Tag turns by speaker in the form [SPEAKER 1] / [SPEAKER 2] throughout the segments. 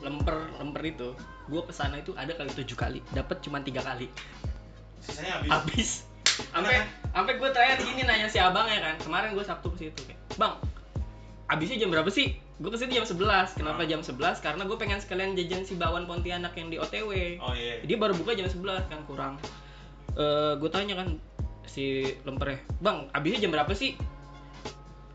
[SPEAKER 1] lemper lemper itu gue kesana itu ada kali tujuh kali dapat cuma tiga kali
[SPEAKER 2] Sisanya habis.
[SPEAKER 1] habis sampai sampai gue terakhir gini nanya si abang ya kan kemarin gue sabtu ke situ kayak bang abisnya jam berapa sih gue kesini jam 11 kenapa
[SPEAKER 2] Ah.
[SPEAKER 1] jam 11 karena gue pengen sekalian jajan si bawan pontianak yang di otw
[SPEAKER 2] Oh iya.
[SPEAKER 1] dia baru buka jam 11 kan kurang eh gue tanya kan si lempernya bang abisnya jam berapa sih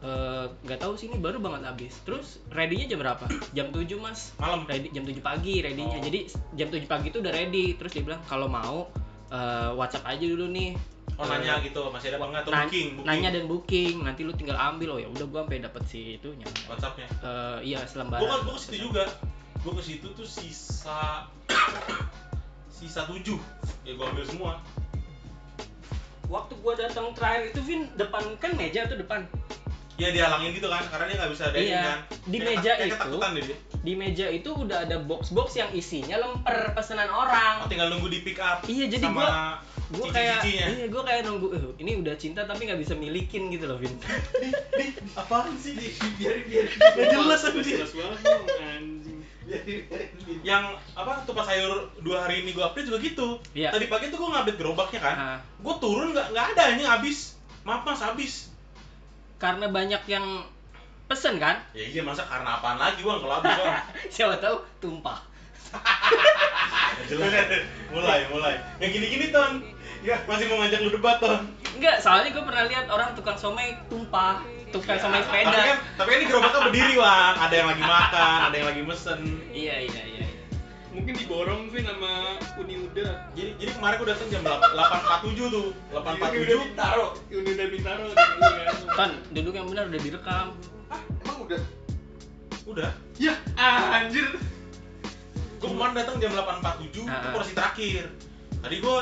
[SPEAKER 1] Eh, nggak tahu sih ini baru banget abis terus ready-nya jam berapa jam 7 mas
[SPEAKER 2] Malam.
[SPEAKER 1] ready jam 7 pagi ready-nya
[SPEAKER 2] Oh.
[SPEAKER 1] jadi jam 7 pagi itu udah ready terus dia bilang kalau mau eh, WhatsApp aja dulu nih
[SPEAKER 2] Oh nanya gitu masih ada apa enggak atau
[SPEAKER 1] Iya, Nan-
[SPEAKER 2] booking, booking.
[SPEAKER 1] nanya dan booking nanti lu tinggal ambil oh ya udah gua sampai dapet si itunya
[SPEAKER 2] WhatsApp-nya.
[SPEAKER 1] Eh, iya selembar
[SPEAKER 2] Gua kan gua ke situ juga. Gua ke situ tuh sisa sisa 7. Ya gua ambil semua.
[SPEAKER 1] waktu gua datang terakhir itu Vin depan kan meja tuh depan
[SPEAKER 2] Ya dihalangin gitu kan karena dia nggak bisa ada
[SPEAKER 1] Iya.
[SPEAKER 2] kan.
[SPEAKER 1] Di
[SPEAKER 2] Dia
[SPEAKER 1] meja
[SPEAKER 2] ketak- dia
[SPEAKER 1] itu-
[SPEAKER 2] ketakutan deh dia.
[SPEAKER 1] di meja itu udah ada box-box yang isinya lemper pesanan
[SPEAKER 2] Oh,
[SPEAKER 1] orang.
[SPEAKER 2] tinggal nunggu di pick up.
[SPEAKER 1] Iya, jadi
[SPEAKER 2] sama
[SPEAKER 1] gua- Gue kayak
[SPEAKER 2] cici-cicinya.
[SPEAKER 1] iya gue kayak nunggu "Eh, ini udah cinta tapi nggak bisa milikin gitu loh Vin.
[SPEAKER 2] apaan sih?
[SPEAKER 3] biarin biarin
[SPEAKER 2] Gak jelas anjing.
[SPEAKER 3] jelas banget dong anjing biarin biarin
[SPEAKER 2] yang apa tumpah sayur dua hari ini gue update juga gitu
[SPEAKER 1] Iya.
[SPEAKER 2] tadi pagi tuh gue ngupdate gerobaknya kan
[SPEAKER 1] Nah,
[SPEAKER 2] gue turun nggak nggak ada ini habis maaf mas habis
[SPEAKER 1] karena banyak yang pesen kan?
[SPEAKER 2] ya iya masa karena apaan lagi bang kalau habis bang
[SPEAKER 1] Siapa tahu tumpah.
[SPEAKER 2] Nggak jelas. mulai mulai yang gini gini ton ya masih mau ngajak lu debat ton
[SPEAKER 1] Enggak, soalnya gue pernah lihat orang tukang somai tumpah, tukang somai
[SPEAKER 2] tapi kan
[SPEAKER 1] sepeda.
[SPEAKER 2] tapi kan ini gerobaknya berdiri bang ada yang lagi makan ada yang lagi mesen
[SPEAKER 1] Iya iya iya. iya.
[SPEAKER 3] mungkin diborong sih nama uni udah
[SPEAKER 2] jadi jadi kemarin gue datang jam 8.47 tuh 8.47
[SPEAKER 3] bintaro uni udah bintaro Iya.
[SPEAKER 1] Ton, duduk yang benar udah direkam.
[SPEAKER 3] Hah, Ah, emang udah
[SPEAKER 2] udah
[SPEAKER 3] ya anjir
[SPEAKER 2] gue kemarin datang jam 8.47
[SPEAKER 1] Ah,
[SPEAKER 2] itu
[SPEAKER 1] ah.
[SPEAKER 2] porsi terakhir tadi gue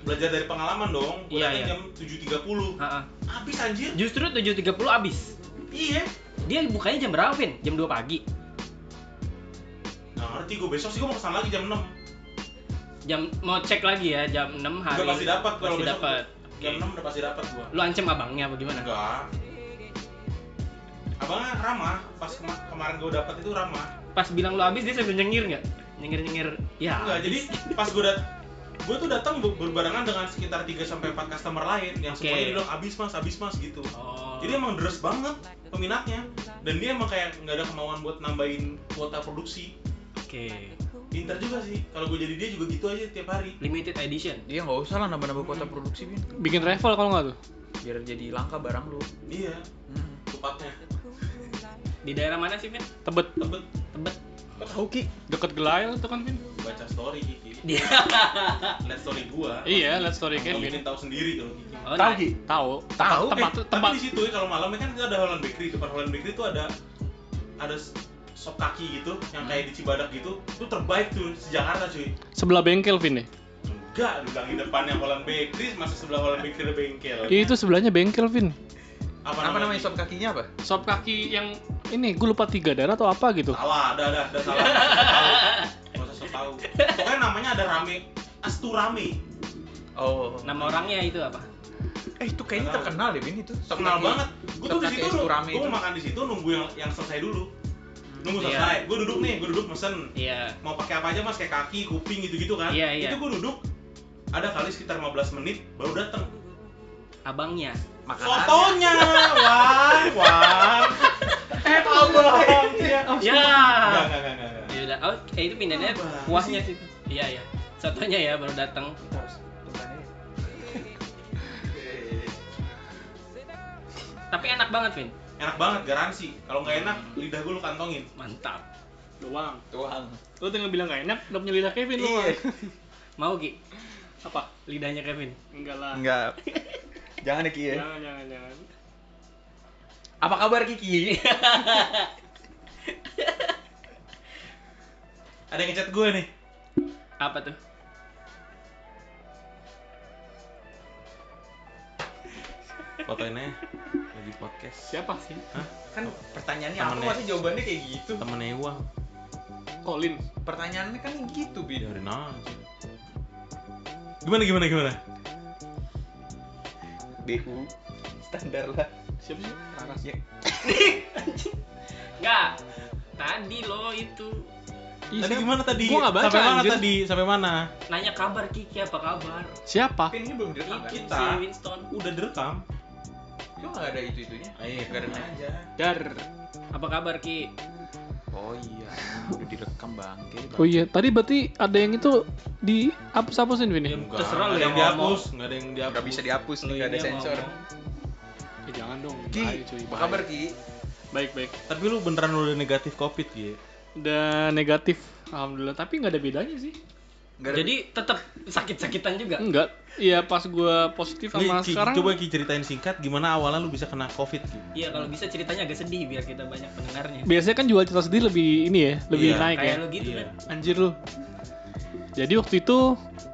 [SPEAKER 2] belajar dari pengalaman dong gue
[SPEAKER 1] Iya,
[SPEAKER 2] datang
[SPEAKER 1] iya.
[SPEAKER 2] jam 7.30
[SPEAKER 1] Ha-ha.
[SPEAKER 2] habis anjir
[SPEAKER 1] Justru 7.30 abis.
[SPEAKER 2] iya
[SPEAKER 1] Dia bukanya jam berapa, Vin? Jam 2 pagi.
[SPEAKER 2] nggak ngerti gue besok sih gue mau kesana lagi jam 6
[SPEAKER 1] Jam mau cek lagi ya, jam 6 hari.
[SPEAKER 2] udah pasti dapat kalau
[SPEAKER 1] Pasti
[SPEAKER 2] besok
[SPEAKER 1] dapat.
[SPEAKER 2] jam
[SPEAKER 1] Oke.
[SPEAKER 2] 6 udah pasti dapat gue
[SPEAKER 1] Lu ancam abangnya apa gimana?
[SPEAKER 2] enggak abangnya ramah pas kema- kemarin gue dapat itu ramah
[SPEAKER 1] pas bilang lo habis dia sambil nyengir nggak nyengir nyengir ya
[SPEAKER 2] enggak jadi pas gue dat gue tuh datang ber- berbarengan dengan sekitar 3 sampai 4 customer lain yang
[SPEAKER 1] Oke.
[SPEAKER 2] semuanya bilang habis mas habis mas gitu
[SPEAKER 1] oh.
[SPEAKER 2] Jadi emang deres banget peminatnya dan dia emang kayak nggak ada kemauan buat nambahin kuota produksi.
[SPEAKER 1] oke
[SPEAKER 2] Pintar juga sih. Kalau gue jadi dia juga gitu aja tiap hari.
[SPEAKER 1] limited edition
[SPEAKER 4] Dia Iya, nggak usah lah nambah-nambah kuota produksi Bin.
[SPEAKER 5] bikin travel kalau nggak tuh
[SPEAKER 4] biar jadi langka barang lu.
[SPEAKER 2] Iya,
[SPEAKER 4] Hmm.
[SPEAKER 2] tepatnya.
[SPEAKER 1] di daerah mana sih Vin?
[SPEAKER 5] tebet
[SPEAKER 2] Tebet
[SPEAKER 1] Tebet
[SPEAKER 4] Tahu Ki?
[SPEAKER 5] deket gelayel tuh kan Vin
[SPEAKER 2] baca story Kiki.
[SPEAKER 1] dia
[SPEAKER 2] Lihat story gua.
[SPEAKER 5] iya let's story Kevin
[SPEAKER 2] Mungkin tahu sendiri dong Kiki.
[SPEAKER 1] oh,
[SPEAKER 5] tahu
[SPEAKER 1] nah.
[SPEAKER 5] Ki? tahu
[SPEAKER 4] Tahu,
[SPEAKER 5] tempat
[SPEAKER 2] Eh,
[SPEAKER 5] tuh tempat
[SPEAKER 2] tapi di situ ya, kalau malam kan itu ada Holland Bakery. Depan Holland Bakery itu ada ada s- sop kaki gitu yang kayak di Cibadak gitu. Itu terbaik tuh sejakarta cuy.
[SPEAKER 5] sebelah bengkel Vin ya
[SPEAKER 2] Enggak, di belakang depannya Holland Bakery masa sebelah Holland Bakery ada bengkel.
[SPEAKER 5] Iya, itu sebelahnya bengkel Vin
[SPEAKER 2] apa, Gitu.
[SPEAKER 4] Apa namanya sop kakinya apa?
[SPEAKER 5] sop kaki yang ini gue lupa tiga darah atau apa gitu
[SPEAKER 2] Salah, ada ada ada salah. Tahu. Gak usah sok tahu. Pokoknya namanya ada rame. Asturame.
[SPEAKER 4] Oh.
[SPEAKER 1] nama orangnya itu apa
[SPEAKER 4] Eh itu
[SPEAKER 2] Nggak
[SPEAKER 4] kayaknya
[SPEAKER 2] tahu.
[SPEAKER 4] terkenal deh Bin itu. Sop
[SPEAKER 2] Terkenal
[SPEAKER 4] kaki.
[SPEAKER 2] banget. Gue tuh
[SPEAKER 4] sop
[SPEAKER 2] di
[SPEAKER 4] kaki
[SPEAKER 2] situ
[SPEAKER 4] Asturame
[SPEAKER 2] gue
[SPEAKER 4] itu.
[SPEAKER 2] makan di situ nunggu yang yang selesai dulu. Nunggu
[SPEAKER 1] Iya.
[SPEAKER 2] selesai. Gue duduk nih, gue duduk mesen.
[SPEAKER 1] iya
[SPEAKER 2] Mau pakai apa aja Mas kayak kaki, kuping gitu-gitu kan.
[SPEAKER 1] Iya, iya.
[SPEAKER 2] Itu gue duduk ada kali sekitar 15 menit baru datang.
[SPEAKER 1] abangnya
[SPEAKER 4] Makanan.
[SPEAKER 2] Fotonya, wah, wah. Eh,
[SPEAKER 1] ya
[SPEAKER 2] abangnya. Enggak, enggak, enggak, enggak.
[SPEAKER 1] ya udah oh, eh, itu pindahnya
[SPEAKER 2] Abang.
[SPEAKER 1] kuahnya sih iya iya satunya ya baru datang tapi enak banget Vin
[SPEAKER 2] Enak banget garansi. Kalau nggak enak, lidah gue lu kantongin.
[SPEAKER 1] mantap
[SPEAKER 5] doang
[SPEAKER 4] Tuang.
[SPEAKER 5] lu tinggal bilang gak enak udah punya lidah Kevin lu
[SPEAKER 4] Iya.
[SPEAKER 1] mau Ki
[SPEAKER 5] apa
[SPEAKER 1] lidahnya Kevin
[SPEAKER 5] enggak lah
[SPEAKER 4] Enggak. Jangan ya Ki ya.
[SPEAKER 5] jangan jangan jangan
[SPEAKER 4] Apa kabar Kiki?
[SPEAKER 2] Ada yang ngechat gue nih.
[SPEAKER 1] apa tuh
[SPEAKER 2] Fotoin aja. Lagi podcast.
[SPEAKER 5] siapa sih
[SPEAKER 4] kan pertanyaannya
[SPEAKER 2] Temennya.
[SPEAKER 4] jawabannya kayak gitu?
[SPEAKER 2] Temennya Iwang.
[SPEAKER 6] Colin.
[SPEAKER 4] Pertanyaannya kan gitu, Bi.
[SPEAKER 2] biarin aja gimana gimana gimana
[SPEAKER 4] BU standar lah.
[SPEAKER 6] Siapa sih? Raras.
[SPEAKER 4] Ya.
[SPEAKER 1] Enggak. Tadi lo itu
[SPEAKER 2] tadi
[SPEAKER 3] Ih, siapa?
[SPEAKER 2] gimana tadi
[SPEAKER 3] Gua nggak baca,
[SPEAKER 2] sampai mana
[SPEAKER 3] anjir.
[SPEAKER 2] tadi sampai mana
[SPEAKER 1] nanya kabar Kiki apa kabar?
[SPEAKER 3] Siapa?
[SPEAKER 5] Ah.
[SPEAKER 4] Tapi ini belum direkam kan?
[SPEAKER 1] Kita.
[SPEAKER 2] Kita.
[SPEAKER 1] Si Winston.
[SPEAKER 2] udah direkam
[SPEAKER 4] Itu nggak ada itu-itunya.
[SPEAKER 2] iya
[SPEAKER 4] Biarin aja.
[SPEAKER 3] Dar.
[SPEAKER 1] Apa kabar Ki?
[SPEAKER 4] Oh iya, udah direkam bangke.
[SPEAKER 3] Oh iya, tadi berarti ada yang itu di hapus-hapusin
[SPEAKER 1] Ya,
[SPEAKER 3] Vin ya?
[SPEAKER 1] terserah lo yang
[SPEAKER 2] Nggak ada yang
[SPEAKER 1] ngomong.
[SPEAKER 2] dihapus nggak ada yang dihapus
[SPEAKER 4] Nggak bisa dihapus Iya,
[SPEAKER 1] Lo
[SPEAKER 4] nih, nggak
[SPEAKER 1] ini
[SPEAKER 4] ada
[SPEAKER 1] yang
[SPEAKER 4] sensor.
[SPEAKER 1] ngomong.
[SPEAKER 3] Eh, jangan dong.
[SPEAKER 4] Ki,
[SPEAKER 3] bahaya, cuy,
[SPEAKER 4] apa
[SPEAKER 3] bahaya.
[SPEAKER 4] kabar Ki?
[SPEAKER 3] Baik, baik.
[SPEAKER 2] tapi lu beneran udah negatif covid gitu
[SPEAKER 3] Dan negatif. Alhamdulillah, tapi nggak ada bedanya sih.
[SPEAKER 4] Nggak ada-
[SPEAKER 1] Jadi tetap sakit-sakitan juga.
[SPEAKER 3] Enggak. Iya, pas gua positif
[SPEAKER 2] Nih,
[SPEAKER 3] sama
[SPEAKER 2] Ki,
[SPEAKER 3] sekarang.
[SPEAKER 2] coba Ki ceritain singkat gimana awalnya lu bisa kena covid Ki.
[SPEAKER 1] Iya, kalau bisa ceritanya agak sedih biar kita banyak pendengarnya.
[SPEAKER 3] Biasanya kan jual cerita sedih lebih ini ya, lebih
[SPEAKER 2] Iya,
[SPEAKER 3] naik ya.
[SPEAKER 1] Kayak lo gitu
[SPEAKER 2] Iya.
[SPEAKER 1] kan.
[SPEAKER 3] Anjir lu. Jadi waktu itu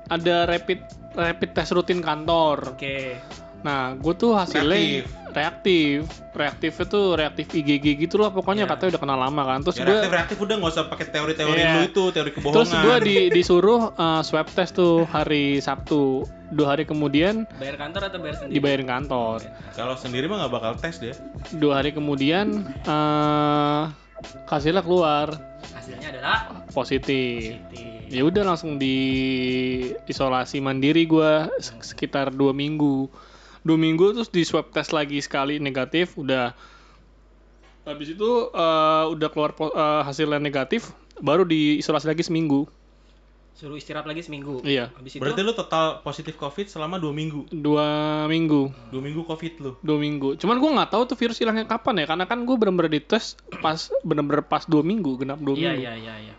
[SPEAKER 3] ada rapid rapid test rutin kantor.
[SPEAKER 1] Oke.
[SPEAKER 3] Nah, gue tuh hasilnya
[SPEAKER 2] Reaktif.
[SPEAKER 3] reaktif. Reaktif. itu reaktif IgG gitu lah pokoknya
[SPEAKER 1] Iya.
[SPEAKER 3] katanya udah kenal lama kan. Terus
[SPEAKER 2] Ya,
[SPEAKER 3] gue
[SPEAKER 2] reaktif reaktif udah nggak usah pakai teori-teori
[SPEAKER 3] Iya.
[SPEAKER 2] lu itu teori kebohongan
[SPEAKER 3] terus gue di, disuruh eh, swab test tuh hari Sabtu. Dua hari kemudian
[SPEAKER 1] Bayar kantor atau bayar sendiri?
[SPEAKER 3] dibayarin kantor.
[SPEAKER 2] kalau sendiri mah nggak bakal tes deh
[SPEAKER 3] Dua hari kemudian eh hasilnya keluar
[SPEAKER 1] Hasilnya adalah
[SPEAKER 3] positif.
[SPEAKER 1] positif.
[SPEAKER 3] ya udah langsung di isolasi mandiri gua se- sekitar dua minggu dua minggu terus di swab test lagi sekali negatif udah habis itu eh, udah keluar po- eh, hasilnya negatif baru di isolasi lagi seminggu
[SPEAKER 1] Suruh istirahat lagi seminggu.
[SPEAKER 3] Iya.
[SPEAKER 1] Habis itu
[SPEAKER 2] berarti lu total positif covid selama dua minggu
[SPEAKER 3] dua minggu
[SPEAKER 2] dua minggu covid lu
[SPEAKER 3] dua minggu cuman gua nggak tahu tuh virus hilangnya kapan ya karena kan gua bener-bener di tes pas bener-bener pas dua minggu genap dua
[SPEAKER 1] Iya,
[SPEAKER 3] minggu
[SPEAKER 1] iya, iya, iya.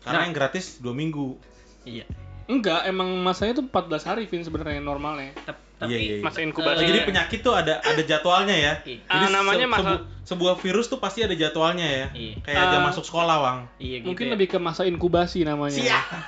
[SPEAKER 2] karena
[SPEAKER 1] Nah.
[SPEAKER 2] yang gratis dua minggu
[SPEAKER 1] Iya.
[SPEAKER 3] enggak emang masanya tuh 14 hari Vin sebenarnya yang normalnya
[SPEAKER 1] Tep-
[SPEAKER 2] Iya, iya,
[SPEAKER 1] Tapi
[SPEAKER 2] iya.
[SPEAKER 3] masa inkubasi
[SPEAKER 2] Oh, jadi penyakit tuh ada ada jadwalnya ya
[SPEAKER 1] Iya.
[SPEAKER 3] Eh.
[SPEAKER 2] Jadi
[SPEAKER 3] Ah, namanya masa-
[SPEAKER 2] sebu- sebuah virus tuh pasti ada jadwalnya ya
[SPEAKER 1] Iya.
[SPEAKER 2] kayak aja
[SPEAKER 3] Ah.
[SPEAKER 2] masuk sekolah wang
[SPEAKER 1] Iya gitu.
[SPEAKER 3] mungkin
[SPEAKER 1] ya.
[SPEAKER 3] lebih ke masa inkubasi namanya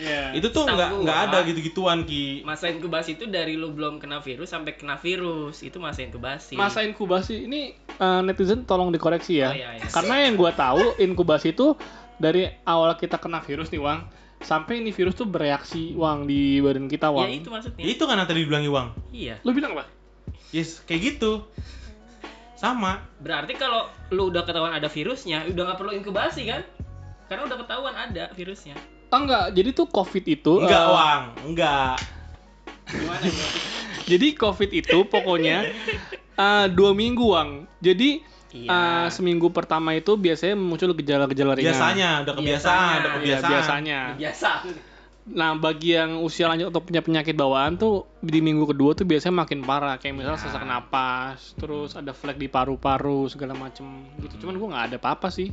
[SPEAKER 3] Iya.
[SPEAKER 2] itu tuh
[SPEAKER 1] Setahu
[SPEAKER 2] nggak
[SPEAKER 1] gua.
[SPEAKER 2] nggak ada gitu-gituan ki
[SPEAKER 1] masa inkubasi itu dari lu belum kena virus sampai kena virus itu masa inkubasi
[SPEAKER 3] masa inkubasi ini eh, netizen tolong dikoreksi ya.
[SPEAKER 1] Oh, iya, iya.
[SPEAKER 3] Karena yang gua tahu inkubasi itu dari awal kita kena virus nih, Wang, sampai ini virus tuh bereaksi, Wang, di badan kita,
[SPEAKER 1] ya
[SPEAKER 3] Wang.
[SPEAKER 1] itu maksudnya
[SPEAKER 2] ya itu kan yang tadi dibilang Iwang
[SPEAKER 1] iya
[SPEAKER 3] Lu bilang apa?
[SPEAKER 2] yes kayak gitu sama
[SPEAKER 1] berarti kalau lu udah ketahuan ada virusnya udah nggak perlu inkubasi kan karena udah ketahuan ada virusnya
[SPEAKER 3] Ah, enggak, jadi tuh COVID itu
[SPEAKER 2] enggak
[SPEAKER 3] eh,
[SPEAKER 2] Wang enggak
[SPEAKER 1] gimana ya? gua?
[SPEAKER 3] Jadi COVID itu pokoknya eh, dua minggu, Wang. Jadi
[SPEAKER 1] iya
[SPEAKER 3] eh, seminggu pertama itu biasanya muncul gejala-gejala ringan.
[SPEAKER 2] biasanya udah kebiasaan
[SPEAKER 1] Biasanya,
[SPEAKER 2] udah
[SPEAKER 3] Iya,
[SPEAKER 2] kebiasaan
[SPEAKER 3] biasanya.
[SPEAKER 1] biasa
[SPEAKER 3] Nah, bagi yang usia lanjut atau punya penyakit bawaan tuh di minggu kedua tuh biasanya makin parah. Kayak misalnya
[SPEAKER 1] Ya.
[SPEAKER 3] sesak napas, terus ada flek di paru-paru segala macem gitu. Cuman gua nggak ada apa-apa sih.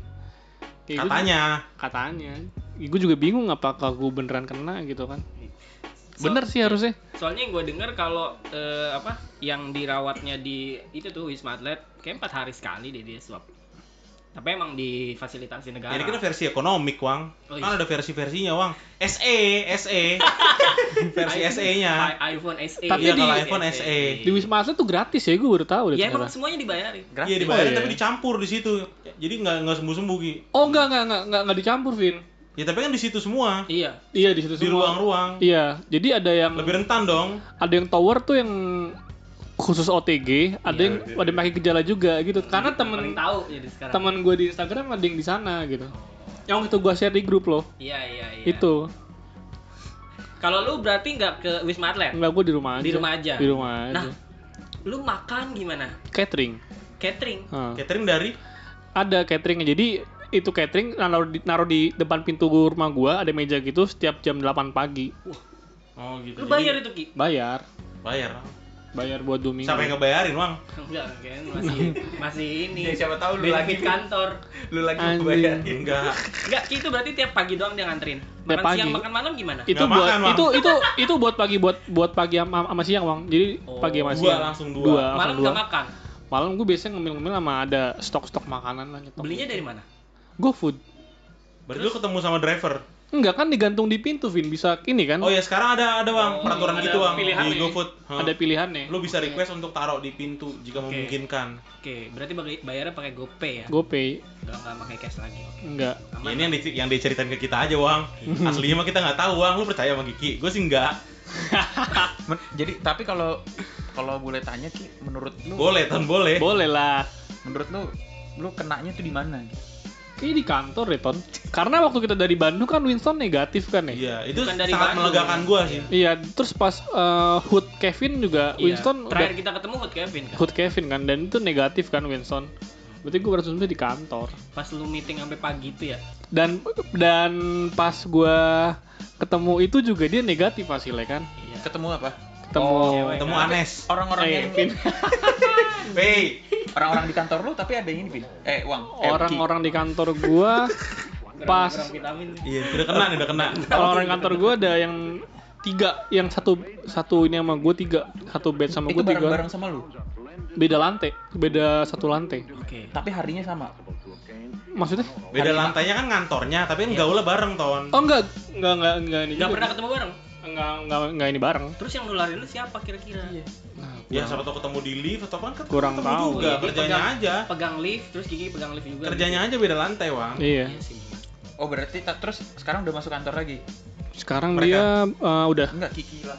[SPEAKER 3] Kayak gitu. gua juga-
[SPEAKER 2] katanya
[SPEAKER 3] katanya. Gue juga bingung apakah gue beneran kena gitu kan. Bener sih harusnya.
[SPEAKER 1] soalnya yang gue dengar kalau eh, apa yang dirawatnya di itu tuh wisma atlet kayak empat hari sekali deh dia swab tapi emang di fasilitasi negara
[SPEAKER 2] ini kan versi ekonomik Wang
[SPEAKER 1] Oh, iya.
[SPEAKER 2] kan ada versi-versinya Wang SE SE E. versi SE nya
[SPEAKER 1] I- iPhone E. SE
[SPEAKER 3] Tapi
[SPEAKER 2] Iya, di- kalau iPhone SE.
[SPEAKER 3] Di Wisma Atlet tuh gratis ya gue baru tahu deh
[SPEAKER 1] Iya, ya emang
[SPEAKER 3] ternyata.
[SPEAKER 1] semuanya dibayarin
[SPEAKER 4] Gratis.
[SPEAKER 2] Iya dibayarin
[SPEAKER 3] Oh, iya.
[SPEAKER 2] tapi dicampur di situ. Jadi nggak nggak sembuh sembuh ki.
[SPEAKER 3] Oh enggak enggak enggak enggak, enggak dicampur, Vin.
[SPEAKER 2] Ya tapi kan di situ semua
[SPEAKER 1] iya
[SPEAKER 3] Iya di situ
[SPEAKER 2] di
[SPEAKER 3] semua.
[SPEAKER 2] ruang-ruang
[SPEAKER 3] Iya, jadi ada yang
[SPEAKER 2] lebih rentan dong.
[SPEAKER 3] ada yang tower tuh yang khusus OTG, ada
[SPEAKER 1] Iya,
[SPEAKER 3] yang ada yang pakai gejala juga gitu. Karena
[SPEAKER 1] paling
[SPEAKER 3] temen
[SPEAKER 1] tahu jadi sekarang
[SPEAKER 3] teman gue di Instagram ada yang di sana gitu. Yang waktu gue share di grup loh,
[SPEAKER 1] iya iya iya
[SPEAKER 3] itu.
[SPEAKER 1] kalau lu berarti nggak ke wisma atlet
[SPEAKER 3] Enggak gue di rumah aja.
[SPEAKER 1] Di rumah aja?
[SPEAKER 3] Di rumah aja.
[SPEAKER 1] nah lu makan gimana
[SPEAKER 3] catering.
[SPEAKER 1] catering
[SPEAKER 3] Hah.
[SPEAKER 2] Catering dari
[SPEAKER 3] Ada cateringnya. Jadi itu catering naruh di, naruh di depan pintu rumah gue ada meja gitu setiap jam 8 pagi
[SPEAKER 2] Oh gitu.
[SPEAKER 1] lu
[SPEAKER 2] Jadi
[SPEAKER 1] bayar itu ki
[SPEAKER 3] bayar
[SPEAKER 2] Bayar.
[SPEAKER 3] bayar buat dua minggu
[SPEAKER 2] Siapa yang ngebayarin, Wang?
[SPEAKER 1] enggak kan masih masih ini
[SPEAKER 4] Ya, siapa tahu lu
[SPEAKER 1] benefit
[SPEAKER 4] lagi.
[SPEAKER 1] kantor
[SPEAKER 4] Lu lagi
[SPEAKER 3] Anjing.
[SPEAKER 4] bayar.
[SPEAKER 2] Ya, Enggak.
[SPEAKER 1] enggak ki itu berarti tiap pagi doang dia nganterin makan
[SPEAKER 3] Tiap pagi.
[SPEAKER 1] siang makan malam gimana
[SPEAKER 3] itu
[SPEAKER 2] Nggak
[SPEAKER 3] buat
[SPEAKER 2] makan, Bang.
[SPEAKER 3] itu itu itu buat pagi buat buat pagi sama, sama siang bang jadi
[SPEAKER 1] Oh,
[SPEAKER 3] pagi sama
[SPEAKER 2] dua
[SPEAKER 3] siang
[SPEAKER 2] langsung dua.
[SPEAKER 3] dua langsung
[SPEAKER 1] malam
[SPEAKER 3] dua.
[SPEAKER 1] nggak makan
[SPEAKER 3] malam gue biasanya ngemil-ngemil sama ada stok-stok makanan lah nyetok
[SPEAKER 1] belinya dari mana
[SPEAKER 3] GoFood
[SPEAKER 2] Berarti lu ketemu sama driver.
[SPEAKER 3] Enggak kan digantung di pintu, Vin. Bisa ini kan? iya.
[SPEAKER 2] Oh ya sekarang ada ada bang peraturan
[SPEAKER 3] ada
[SPEAKER 2] gitu bang
[SPEAKER 3] pilihan
[SPEAKER 2] di
[SPEAKER 3] nih.
[SPEAKER 2] GoFood. Hah?
[SPEAKER 3] Ada pilihannya.
[SPEAKER 2] Lu bisa request untuk taruh di pintu jika memungkinkan.
[SPEAKER 1] Oke, berarti bagi- bayarnya pakai GoPay ya?
[SPEAKER 3] GoPay.
[SPEAKER 1] Udah nggak pakai cash lagi. Oke.
[SPEAKER 3] Enggak.
[SPEAKER 2] Ya,
[SPEAKER 1] Aman.
[SPEAKER 2] ini yang, di, yang diceritain ke kita aja bang. Aslinya mah kita nggak tahu bang. Lu percaya sama Kiki? Gue sih enggak.
[SPEAKER 4] Men- jadi tapi kalau kalau boleh tanya Ki, menurut lu
[SPEAKER 2] Boleh Ton boleh.
[SPEAKER 3] Boleh lah.
[SPEAKER 4] menurut lu lu kenanya tuh di mana?
[SPEAKER 3] Kayaknya di kantor deh, Ton. Karena waktu kita dari Bandung kan Winston negatif kan ya?
[SPEAKER 2] Iya itu
[SPEAKER 1] Bukan dari
[SPEAKER 2] sangat
[SPEAKER 1] Bandung.
[SPEAKER 2] melegakan gue sih.
[SPEAKER 3] Iya, terus pas eh, Hood Kevin juga
[SPEAKER 1] Iya.
[SPEAKER 3] Winston
[SPEAKER 1] terakhir
[SPEAKER 3] udah
[SPEAKER 1] kita ketemu Hut Kevin kan.
[SPEAKER 3] Hood Kevin kan dan itu negatif kan Winston. Berarti gue berasumsi di kantor.
[SPEAKER 1] Pas lu meeting sampai pagi itu ya.
[SPEAKER 3] Dan dan pas gua ketemu itu juga dia negatif hasilnya kan.
[SPEAKER 1] Iya.
[SPEAKER 4] Ketemu apa?
[SPEAKER 3] Ketemu
[SPEAKER 1] cewek. kan?
[SPEAKER 2] Ketemu
[SPEAKER 1] Tapi-
[SPEAKER 2] Anes.
[SPEAKER 4] Orang-orang
[SPEAKER 3] Eh,
[SPEAKER 4] yang
[SPEAKER 3] Vin.
[SPEAKER 2] Hey,
[SPEAKER 4] orang-orang di kantor lu tapi ada ini Vin. Eh, Wang. Eh, Ki.
[SPEAKER 3] orang-orang di kantor gua pas
[SPEAKER 1] Kurang vitamin.
[SPEAKER 2] iya udah kena nih udah kena.
[SPEAKER 3] orang-orang kantor gua ada yang tiga yang satu satu ini sama gua tiga satu bed sama
[SPEAKER 4] itu
[SPEAKER 3] gua tiga
[SPEAKER 4] bareng-bareng sama lu.
[SPEAKER 3] beda lantai beda satu lantai
[SPEAKER 1] Oke.
[SPEAKER 4] Tapi harinya sama.
[SPEAKER 3] maksudnya
[SPEAKER 2] Beda lantainya kan ngantornya, tapi kan gaulnya bareng Ton.
[SPEAKER 3] Iya. oh enggak enggak enggak enggak ini
[SPEAKER 1] Nggak
[SPEAKER 3] juga.
[SPEAKER 1] pernah ketemu bareng.
[SPEAKER 3] enggak enggak enggak ini bareng
[SPEAKER 1] Terus yang nularin lu siapa kira-kira?
[SPEAKER 3] Nah,
[SPEAKER 2] Ya siapa tau ketemu di lift atau kan ketemu
[SPEAKER 3] Kurang
[SPEAKER 2] ketemu
[SPEAKER 3] tahu.
[SPEAKER 2] juga
[SPEAKER 1] Iya, dia
[SPEAKER 2] kerjanya
[SPEAKER 1] pegang-
[SPEAKER 2] aja.
[SPEAKER 1] Pegang lift, terus Kiki pegang lift juga.
[SPEAKER 2] Kerjanya aja beda lantai, Wang.
[SPEAKER 3] iya
[SPEAKER 1] Iya sih.
[SPEAKER 4] Oh, berarti ta- terus sekarang udah masuk kantor lagi.
[SPEAKER 3] sekarang
[SPEAKER 2] Mereka.
[SPEAKER 3] dia eh, udah
[SPEAKER 4] Enggak Kiki lah.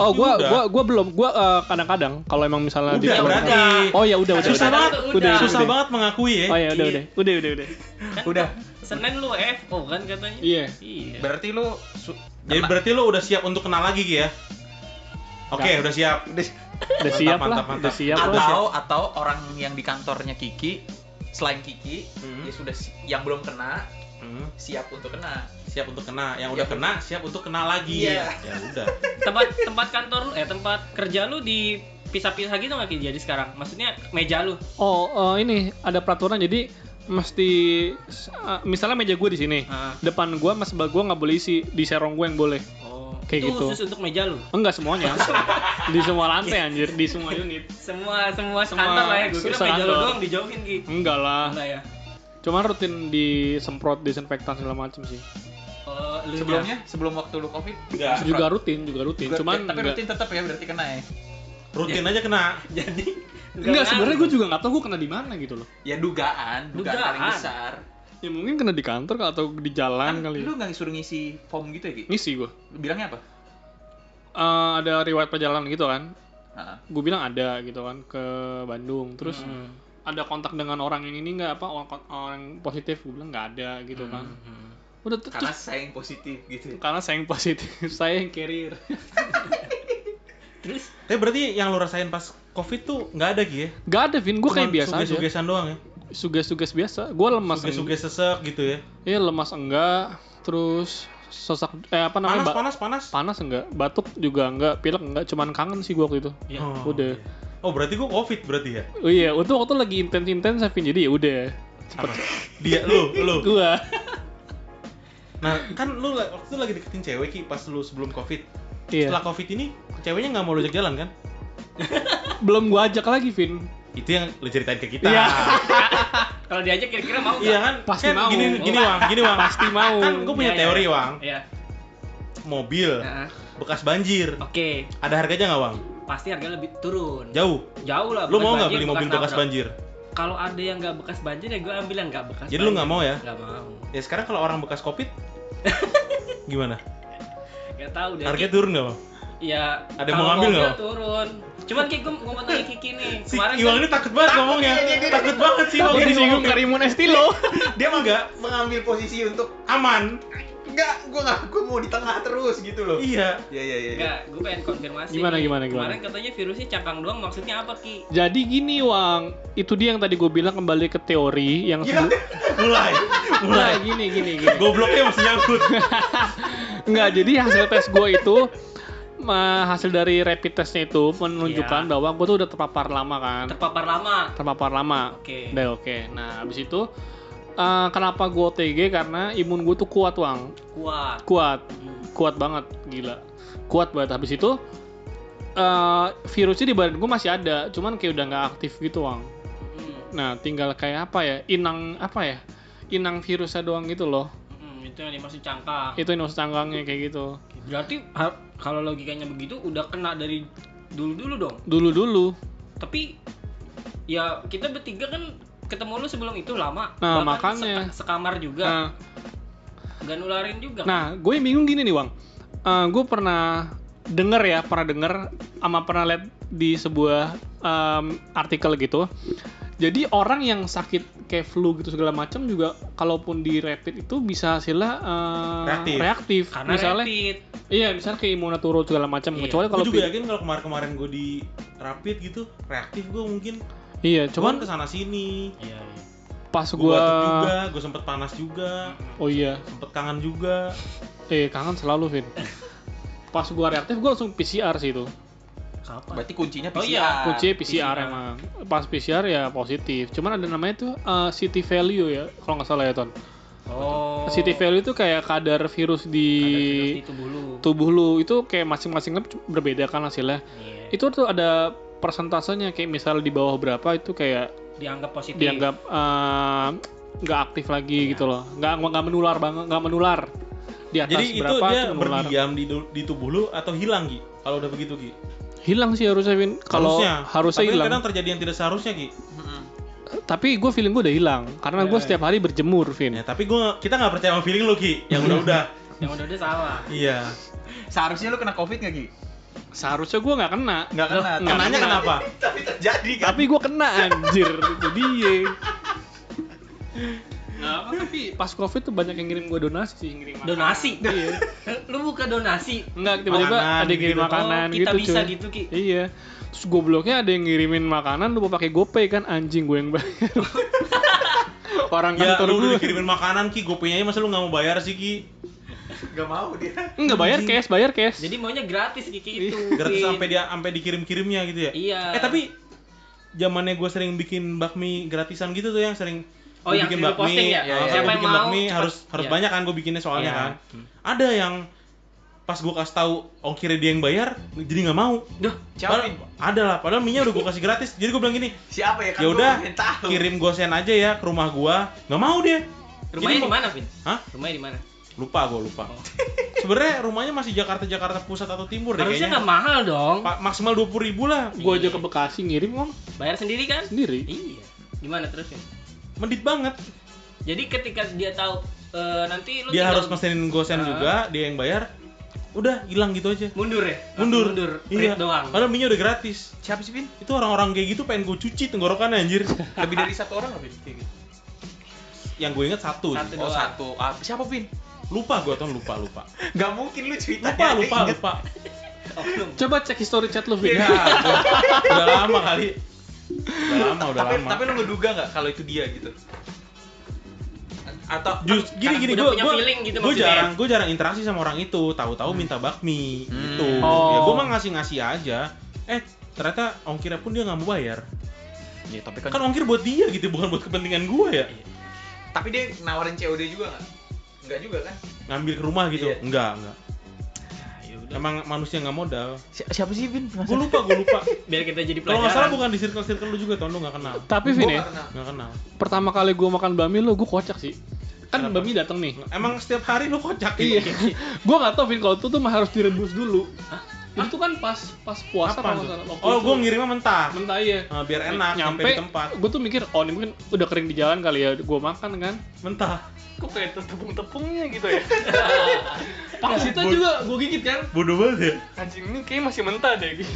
[SPEAKER 3] oh
[SPEAKER 2] Ini
[SPEAKER 3] gua
[SPEAKER 2] udah.
[SPEAKER 3] gua gua belum gua eh, kadang-kadang kalau emang misalnya
[SPEAKER 2] Udah, berarti.
[SPEAKER 3] oh ya udah udah
[SPEAKER 2] Susah
[SPEAKER 3] udah.
[SPEAKER 2] banget,
[SPEAKER 3] udah, udah,
[SPEAKER 2] susah
[SPEAKER 3] udah.
[SPEAKER 2] banget mengakui ya.
[SPEAKER 3] oh ya udah udah udah udah udah
[SPEAKER 1] Kan
[SPEAKER 4] Udah.
[SPEAKER 1] Senin lu FO kan katanya.
[SPEAKER 3] iya
[SPEAKER 1] Iya.
[SPEAKER 4] Berarti lu su-
[SPEAKER 2] Jadi
[SPEAKER 4] Nah, kena-
[SPEAKER 2] berarti lo udah siap untuk kenal lagi Ki, ya? Oke,
[SPEAKER 3] Udah.
[SPEAKER 2] udah siap.
[SPEAKER 3] Ya. udah
[SPEAKER 2] Mantap,
[SPEAKER 3] siap lah
[SPEAKER 2] mantap,
[SPEAKER 3] udah
[SPEAKER 2] mantap.
[SPEAKER 3] siap lah
[SPEAKER 4] atau atau orang yang di kantornya Kiki selain Kiki
[SPEAKER 2] Hmm.
[SPEAKER 4] ya sudah si- yang belum kena
[SPEAKER 2] Hmm,
[SPEAKER 4] siap untuk kena.
[SPEAKER 2] siap untuk kena. Yang udah
[SPEAKER 4] Iya.
[SPEAKER 2] kena, siap untuk kena lagi.
[SPEAKER 4] Iya.
[SPEAKER 2] Ya udah.
[SPEAKER 1] tempat tempat kantor lu eh tempat kerja lu dipisah-pisah gitu nggak Ki? jadi sekarang maksudnya meja lu
[SPEAKER 3] Oh, eh, ini ada peraturan jadi mesti s- eh, misalnya meja gue di sini.
[SPEAKER 1] Ah.
[SPEAKER 3] Depan gue sama sebelah gue nggak boleh isi, di serong gue yang boleh.
[SPEAKER 1] oh
[SPEAKER 3] Kayak
[SPEAKER 1] itu
[SPEAKER 3] gitu.
[SPEAKER 1] khusus untuk meja lu
[SPEAKER 3] Enggak semuanya. di semua lantai anjir, di semua unit.
[SPEAKER 1] semua semua,
[SPEAKER 3] Semua
[SPEAKER 1] kantor lah ya gue kira
[SPEAKER 3] se-
[SPEAKER 1] meja lu
[SPEAKER 3] kantor.
[SPEAKER 1] doang dijauhin gitu
[SPEAKER 3] Enggak lah.
[SPEAKER 1] enggak ya
[SPEAKER 3] Cuman rutin disemprot disinfektan segala macem sih.
[SPEAKER 1] oh, lu
[SPEAKER 4] Sebelumnya sebelum waktu lu Covid
[SPEAKER 2] Enggak.
[SPEAKER 3] Juga rutin, juga rutin.
[SPEAKER 4] Juga-
[SPEAKER 3] Ya, Cuman
[SPEAKER 4] tapi
[SPEAKER 3] enggak-
[SPEAKER 4] rutin tetap ya berarti kena ya.
[SPEAKER 2] Rutin aja kena.
[SPEAKER 1] jadi
[SPEAKER 3] Enggak, sebenarnya gue juga nggak tahu gue kena di mana gitu loh.
[SPEAKER 4] Ya dugaan, dugaan,
[SPEAKER 1] Dugaan.
[SPEAKER 4] paling besar.
[SPEAKER 3] Ya mungkin kena di kantor atau di
[SPEAKER 4] Kan
[SPEAKER 3] jalan kali. ya.
[SPEAKER 4] lu nggak disuruh ngisi form gitu ya Ki?
[SPEAKER 3] Ngisi gue.
[SPEAKER 4] Lu bilangnya apa?
[SPEAKER 3] Eh, ada riwayat perjalanan gitu kan.
[SPEAKER 4] Heeh.
[SPEAKER 3] Gue bilang ada gitu kan ke Bandung. Terus
[SPEAKER 4] Hmm.
[SPEAKER 3] ada kontak dengan orang yang ini nggak apa orang, orang positif gue bilang nggak ada gitu kan udah tuh
[SPEAKER 4] Hmm. Karena
[SPEAKER 3] karena,
[SPEAKER 4] saya yang positif gitu.
[SPEAKER 3] karena saya yang positif saya yang carrier
[SPEAKER 1] terus
[SPEAKER 2] Tapi berarti yang lo rasain pas Covid tuh nggak ada Ki ya?
[SPEAKER 3] nggak ada Vin gue kayak
[SPEAKER 2] Cuman
[SPEAKER 3] biasa aja
[SPEAKER 2] Suges-sugesan doang ya.
[SPEAKER 3] suges-suges biasa gue lemas enggak
[SPEAKER 2] Suges-suges sesek gitu ya.
[SPEAKER 3] iya lemas enggak terus sesak eh apa
[SPEAKER 2] Panas,
[SPEAKER 3] namanya ba-
[SPEAKER 2] panas, panas.
[SPEAKER 3] panas enggak batuk juga enggak pilek enggak cuman kangen sih gue waktu itu
[SPEAKER 1] ya
[SPEAKER 2] Oh.
[SPEAKER 3] udah
[SPEAKER 2] Oh, berarti gua Covid berarti ya?
[SPEAKER 3] oh iya untuk waktu lagi intens-intens Vin jadi ya udah
[SPEAKER 2] Apa? Dia lu, lu.
[SPEAKER 3] gue
[SPEAKER 2] Nah, kan lu la- waktu itu lagi deketin cewek Ki pas lu sebelum Covid.
[SPEAKER 3] iya
[SPEAKER 2] Setelah Covid ini ceweknya nggak mau lu ajak jalan kan?
[SPEAKER 3] belum gue ajak lagi Vin
[SPEAKER 2] Itu yang lu ceritain ke kita.
[SPEAKER 3] Iya.
[SPEAKER 1] kalau diajak kira-kira mau nggak?
[SPEAKER 2] Iya kan?
[SPEAKER 3] Pasti
[SPEAKER 2] Kan
[SPEAKER 3] mau.
[SPEAKER 2] Gini, gini Wang, gini Wang.
[SPEAKER 3] pasti mau
[SPEAKER 2] Kan gue punya
[SPEAKER 1] Iya, iya.
[SPEAKER 2] teori, Wang. Iya.
[SPEAKER 1] iya
[SPEAKER 2] Mobil
[SPEAKER 3] Iya.
[SPEAKER 1] Nah,
[SPEAKER 2] bekas banjir.
[SPEAKER 1] oke
[SPEAKER 2] Ada harganya nggak, Wang?
[SPEAKER 1] pasti harga lebih turun
[SPEAKER 2] Jauh.
[SPEAKER 1] jauh lah bekas
[SPEAKER 2] Lu mau nggak
[SPEAKER 1] banjir,
[SPEAKER 2] beli mobil bekas
[SPEAKER 1] nabrak.
[SPEAKER 2] banjir?
[SPEAKER 1] kalau ada yang nggak bekas banjir ya gue ambil yang nggak bekas
[SPEAKER 2] Jadi lu nggak mau ya?
[SPEAKER 1] nggak mau
[SPEAKER 2] Ya sekarang kalau orang bekas Covid gimana?
[SPEAKER 1] nggak tahu deh
[SPEAKER 2] Harganya turun nggak, Wang?
[SPEAKER 1] Ya,
[SPEAKER 2] Ada yang
[SPEAKER 1] kalau
[SPEAKER 2] mau ngambil
[SPEAKER 1] mobil
[SPEAKER 2] nggak?
[SPEAKER 1] Turun. Cuman Ki, gue mau tanya Kiki nih.
[SPEAKER 2] Si
[SPEAKER 1] Kemarin
[SPEAKER 2] Iwang
[SPEAKER 1] kan
[SPEAKER 2] ini takut banget ngomongnya. Takut banget sih Iwang
[SPEAKER 3] Takut
[SPEAKER 2] ini
[SPEAKER 3] disinggung
[SPEAKER 2] ngomongnya.
[SPEAKER 3] karimun estilo
[SPEAKER 2] Dia mah nggak
[SPEAKER 4] Mengambil posisi untuk
[SPEAKER 2] aman.
[SPEAKER 4] enggak, gua enggak gua mau di tengah terus gitu loh.
[SPEAKER 2] Iya.
[SPEAKER 4] Iya iya iya.
[SPEAKER 1] Enggak, gue pengen konfirmasi.
[SPEAKER 3] Gimana,
[SPEAKER 1] nih.
[SPEAKER 3] gimana, gimana?
[SPEAKER 1] Kemarin katanya virusnya cangkang doang, maksudnya apa Ki?
[SPEAKER 3] Jadi gini Wang, itu dia yang tadi gue bilang kembali ke teori yang
[SPEAKER 4] Iya.
[SPEAKER 3] sebelum-
[SPEAKER 2] Mulai.
[SPEAKER 3] Nah, gini gini gini.
[SPEAKER 2] Gobloknya masih nyangkut.
[SPEAKER 3] Enggak, jadi hasil tes gue itu ma- hasil dari rapid testnya itu menunjukkan
[SPEAKER 1] Iya.
[SPEAKER 3] bahwa gue tuh udah terpapar lama kan.
[SPEAKER 1] Terpapar lama.
[SPEAKER 3] Terpapar lama.
[SPEAKER 1] Oke.
[SPEAKER 3] Udah oke. Nah, habis itu eh, kenapa gue OTG karena imun gue tuh kuat Wang.
[SPEAKER 1] Kuat.
[SPEAKER 3] Kuat,
[SPEAKER 1] Hmm.
[SPEAKER 3] kuat banget, gila. Kuat banget habis itu eh, virusnya di badan gue masih ada, cuman kayak udah nggak aktif gitu Wang.
[SPEAKER 1] Hmm.
[SPEAKER 3] Nah, tinggal kayak apa ya? Inang apa ya? Inang virusnya doang gitu loh.
[SPEAKER 1] Hmm. itu yang dimaksud cangkang
[SPEAKER 5] itu nasi cangkangnya kayak gitu
[SPEAKER 1] berarti ha- kalau logikanya begitu udah kena dari dulu dulu dong
[SPEAKER 5] dulu dulu
[SPEAKER 1] tapi ya kita bertiga kan ketemu lu sebelum itu lama
[SPEAKER 5] Nah,
[SPEAKER 1] Bahkan
[SPEAKER 5] makanya.
[SPEAKER 1] seka- sekamar juga
[SPEAKER 5] nah
[SPEAKER 1] gak nularin juga
[SPEAKER 5] Nah, gue yang bingung gini nih, Bang. Eh, gue pernah denger ya, pernah denger ama pernah lihat di sebuah em, artikel gitu. Jadi orang yang sakit kayak flu gitu segala macam juga kalaupun di rapid itu bisa hasilnya eh,
[SPEAKER 2] Reaktif.
[SPEAKER 5] reaktif.
[SPEAKER 1] karena
[SPEAKER 5] misalnya
[SPEAKER 1] rapid
[SPEAKER 5] iya, misalnya kayak imunaturut segala macam.
[SPEAKER 1] Iya.
[SPEAKER 5] Kecuali
[SPEAKER 2] Gue
[SPEAKER 5] kalau
[SPEAKER 2] juga
[SPEAKER 5] pi-
[SPEAKER 2] yakin kalau kemarin-kemarin gue di rapid gitu reaktif gue mungkin
[SPEAKER 5] iya,
[SPEAKER 2] cuman
[SPEAKER 5] cuman
[SPEAKER 2] kesana sini
[SPEAKER 1] iya,
[SPEAKER 5] pas
[SPEAKER 2] gue
[SPEAKER 5] gue
[SPEAKER 2] batuk juga gue sempet panas juga
[SPEAKER 5] Oh iya,
[SPEAKER 2] sempet kangen juga
[SPEAKER 5] eh kangen selalu, Vin. pas gue reaktif gue langsung PCR sih itu.
[SPEAKER 1] kapan
[SPEAKER 4] Berarti kuncinya
[SPEAKER 1] Oh
[SPEAKER 4] PCR.
[SPEAKER 1] iya,
[SPEAKER 5] Kunci PCR,
[SPEAKER 1] PCR.
[SPEAKER 5] emang. Nah, Pas PCR ya positif. Cuman ada namanya tuh eh, city value ya, kalau nggak salah ya Ton.
[SPEAKER 1] oh
[SPEAKER 5] City value itu kayak kadar virus di
[SPEAKER 1] itu dulu
[SPEAKER 5] tubuh lu itu kayak masing-masing lab berbeda kan hasilnya.
[SPEAKER 1] Iya.
[SPEAKER 5] Itu tuh ada persentasenya kayak misal di bawah berapa itu kayak
[SPEAKER 1] dianggap positif
[SPEAKER 5] dianggap eh, nggak aktif
[SPEAKER 2] Iya.
[SPEAKER 5] lagi gitu loh. Nggak nggak menular banget, nggak menular. Di atas
[SPEAKER 2] jadi itu
[SPEAKER 5] berapa
[SPEAKER 2] dia ya?
[SPEAKER 5] tuh menular.
[SPEAKER 2] berdiam di, du- di tubuh lu atau hilang Ki kalau udah begitu Ki
[SPEAKER 5] Hilang sih harusnya Vin. Kalau harusnya
[SPEAKER 2] Tapi
[SPEAKER 5] hilang.
[SPEAKER 2] kadang terjadi yang tidak seharusnya Ki
[SPEAKER 4] Mm-mm.
[SPEAKER 5] Tapi gue feeling gue udah hilang karena
[SPEAKER 2] Iya,
[SPEAKER 5] gue setiap hari berjemur Vin.
[SPEAKER 2] ya, tapi gua kita nggak percaya sama feeling lu Ki yang udah-udah
[SPEAKER 1] yang udah udah salah
[SPEAKER 2] iya
[SPEAKER 4] Seharusnya lu kena COVID nggak Ki?
[SPEAKER 5] Seharusnya gue nggak kena.
[SPEAKER 2] Iya.
[SPEAKER 4] Nggak kena.
[SPEAKER 5] Nggak
[SPEAKER 4] tapi-
[SPEAKER 2] kenanya kenapa
[SPEAKER 4] Tapi terjadi kan.
[SPEAKER 5] Tapi gue kena anjir. Itu dia. Nah, tapi pas covid tuh banyak yang ngirim gue donasi sih ngirim makanan.
[SPEAKER 1] donasi
[SPEAKER 5] Iya.
[SPEAKER 1] lu buka donasi
[SPEAKER 5] Enggak tiba-tiba
[SPEAKER 2] Makanan
[SPEAKER 5] ada yang ngirim
[SPEAKER 2] gitu.
[SPEAKER 5] makanan
[SPEAKER 1] Oh,
[SPEAKER 5] gitu.
[SPEAKER 1] kita bisa
[SPEAKER 5] cuy.
[SPEAKER 1] gitu, Ki.
[SPEAKER 5] Iya. Terus gobloknya ada yang ngirimin makanan lupa pakai GoPay kan anjing gue yang bayar. Orang
[SPEAKER 2] ya
[SPEAKER 5] kantor
[SPEAKER 2] lu
[SPEAKER 5] gue
[SPEAKER 2] udah dikirimin makanan Ki gopenya aja masa lu nggak mau bayar sih Ki
[SPEAKER 4] Nggak mau dia.
[SPEAKER 5] enggak bayar cash, bayar cash.
[SPEAKER 1] jadi maunya gratis kiki
[SPEAKER 5] Iya.
[SPEAKER 1] itu
[SPEAKER 2] gratis
[SPEAKER 1] Vin.
[SPEAKER 2] sampai dia sampai dikirim-kirimnya gitu ya
[SPEAKER 1] iya
[SPEAKER 2] eh tapi zamannya gue sering bikin bakmi gratisan gitu tuh yang sering
[SPEAKER 1] Oh,
[SPEAKER 2] gua
[SPEAKER 1] yang sering lu posting ya?
[SPEAKER 2] ya,
[SPEAKER 1] Oh, siapa
[SPEAKER 2] ya, gua
[SPEAKER 1] yang
[SPEAKER 2] bikin
[SPEAKER 1] mau,
[SPEAKER 2] bakmi
[SPEAKER 1] cepet.
[SPEAKER 2] harus harus
[SPEAKER 1] Iya.
[SPEAKER 2] banyak kan gue bikinnya soalnya
[SPEAKER 1] Iya.
[SPEAKER 2] kan ada yang pas gue kasih tahu ongkirnya dia yang bayar jadi nggak mau
[SPEAKER 1] Duh,
[SPEAKER 4] Siapa?
[SPEAKER 2] Padahal- ada lah padahal minyak udah gue kasih gratis jadi gue bilang gini
[SPEAKER 4] Siapa ya? Kan
[SPEAKER 2] ya
[SPEAKER 4] gua
[SPEAKER 2] udah
[SPEAKER 4] pengen tahu.
[SPEAKER 2] kirim gosen aja ya ke rumah gue nggak mau dia
[SPEAKER 1] rumahnya
[SPEAKER 2] Jadi-
[SPEAKER 1] di mana Vin
[SPEAKER 2] Hah?
[SPEAKER 1] rumahnya di mana
[SPEAKER 2] lupa gue lupa
[SPEAKER 1] Oh.
[SPEAKER 2] sebenarnya rumahnya masih Jakarta Jakarta pusat atau timur deh
[SPEAKER 1] harusnya nggak
[SPEAKER 2] kayaknya
[SPEAKER 1] mahal dong
[SPEAKER 2] Pa- maksimal dua puluh ribu lah
[SPEAKER 5] Gue aja ke Bekasi ngirim om
[SPEAKER 1] bayar sendiri kan
[SPEAKER 5] sendiri.
[SPEAKER 1] iya gimana terus Vin
[SPEAKER 2] medit banget
[SPEAKER 1] jadi ketika dia tahu eh, nanti lu
[SPEAKER 2] dia
[SPEAKER 1] tinggal
[SPEAKER 2] harus mesenin gosen
[SPEAKER 1] Ah.
[SPEAKER 2] juga dia yang bayar udah hilang gitu aja
[SPEAKER 1] mundur ya Langsung
[SPEAKER 2] mundur
[SPEAKER 1] mundur
[SPEAKER 2] iya
[SPEAKER 1] Print doang
[SPEAKER 2] padahal minyak udah gratis
[SPEAKER 4] Siapa sih Vin?
[SPEAKER 2] itu orang-orang kayak gitu pengen gue cuci tenggorokan anjir
[SPEAKER 4] Lebih dari satu orang nggak Vin? Kayak gitu.
[SPEAKER 2] yang gue inget satu,
[SPEAKER 1] Satu.
[SPEAKER 2] sih.
[SPEAKER 4] Oh
[SPEAKER 1] doang.
[SPEAKER 4] satu. Ah, siapa Vin?
[SPEAKER 2] lupa gue tuh lupa lupa
[SPEAKER 4] Nggak mungkin lu cerita.
[SPEAKER 2] lupa lupa lupa
[SPEAKER 1] Oknum.
[SPEAKER 5] Coba cek history chat lu
[SPEAKER 4] Iya.
[SPEAKER 5] Vin.
[SPEAKER 2] ya, gua- udah lama kali udah lama udah
[SPEAKER 4] tapi,
[SPEAKER 2] lama
[SPEAKER 4] tapi lu ngeduga nggak kalau itu dia gitu? Atau kan-
[SPEAKER 2] Just, gini gini
[SPEAKER 1] udah
[SPEAKER 2] gue
[SPEAKER 1] punya feeling gitu
[SPEAKER 2] gue
[SPEAKER 1] maksudnya.
[SPEAKER 2] jarang gue jarang interaksi sama orang itu tahu-tahu minta bakmi
[SPEAKER 4] Hmm.
[SPEAKER 2] gitu ya
[SPEAKER 5] Oh.
[SPEAKER 2] gue mah ngasih-ngasih aja eh ternyata ongkirnya pun dia nggak mau bayar
[SPEAKER 4] Ya, tapi
[SPEAKER 2] kan ongkir buat dia gitu bukan buat kepentingan gue ya
[SPEAKER 4] Tapi dia nawarin COD juga nggak? Nggak juga kan?
[SPEAKER 2] ngambil ke rumah gitu
[SPEAKER 4] Iya.
[SPEAKER 2] enggak enggak emang manusia nggak modal
[SPEAKER 4] siapa sih Vin?
[SPEAKER 2] gue lupa gue lupa
[SPEAKER 1] biar kita jadi
[SPEAKER 2] kalau nggak
[SPEAKER 1] pelajaran
[SPEAKER 2] salah bukan di circle circle lu juga tahun lu nggak kenal
[SPEAKER 5] Tapi Vin ya,
[SPEAKER 2] nggak kenal
[SPEAKER 5] pertama kali gue makan bami lo gue kocak sih. Kan
[SPEAKER 2] Kenapa?
[SPEAKER 5] bami datang nih.
[SPEAKER 2] emang setiap hari lu kocak
[SPEAKER 5] Iya.
[SPEAKER 2] gitu.
[SPEAKER 5] gue nggak tau Vin kalau itu tuh mah harus direbus dulu. Itu kan pas pas puasa
[SPEAKER 2] Kapan
[SPEAKER 5] kalau nggak
[SPEAKER 2] tuh?
[SPEAKER 5] salah. Waktu
[SPEAKER 2] oh
[SPEAKER 5] itu.
[SPEAKER 2] gue ngirimnya mentah
[SPEAKER 5] mentah ya.
[SPEAKER 2] Ah, biar enak nyampe, di tempat
[SPEAKER 5] Gue tuh mikir oh ini mungkin udah kering di jalan kali ya. Gue makan kan.
[SPEAKER 2] mentah
[SPEAKER 5] Kok kayak ada tepung-tepungnya gitu ya. Parasitnya juga gue gigit kan.
[SPEAKER 2] bodoh banget ya
[SPEAKER 5] Anjing ini kayak Nah, masih mentah deh gitu.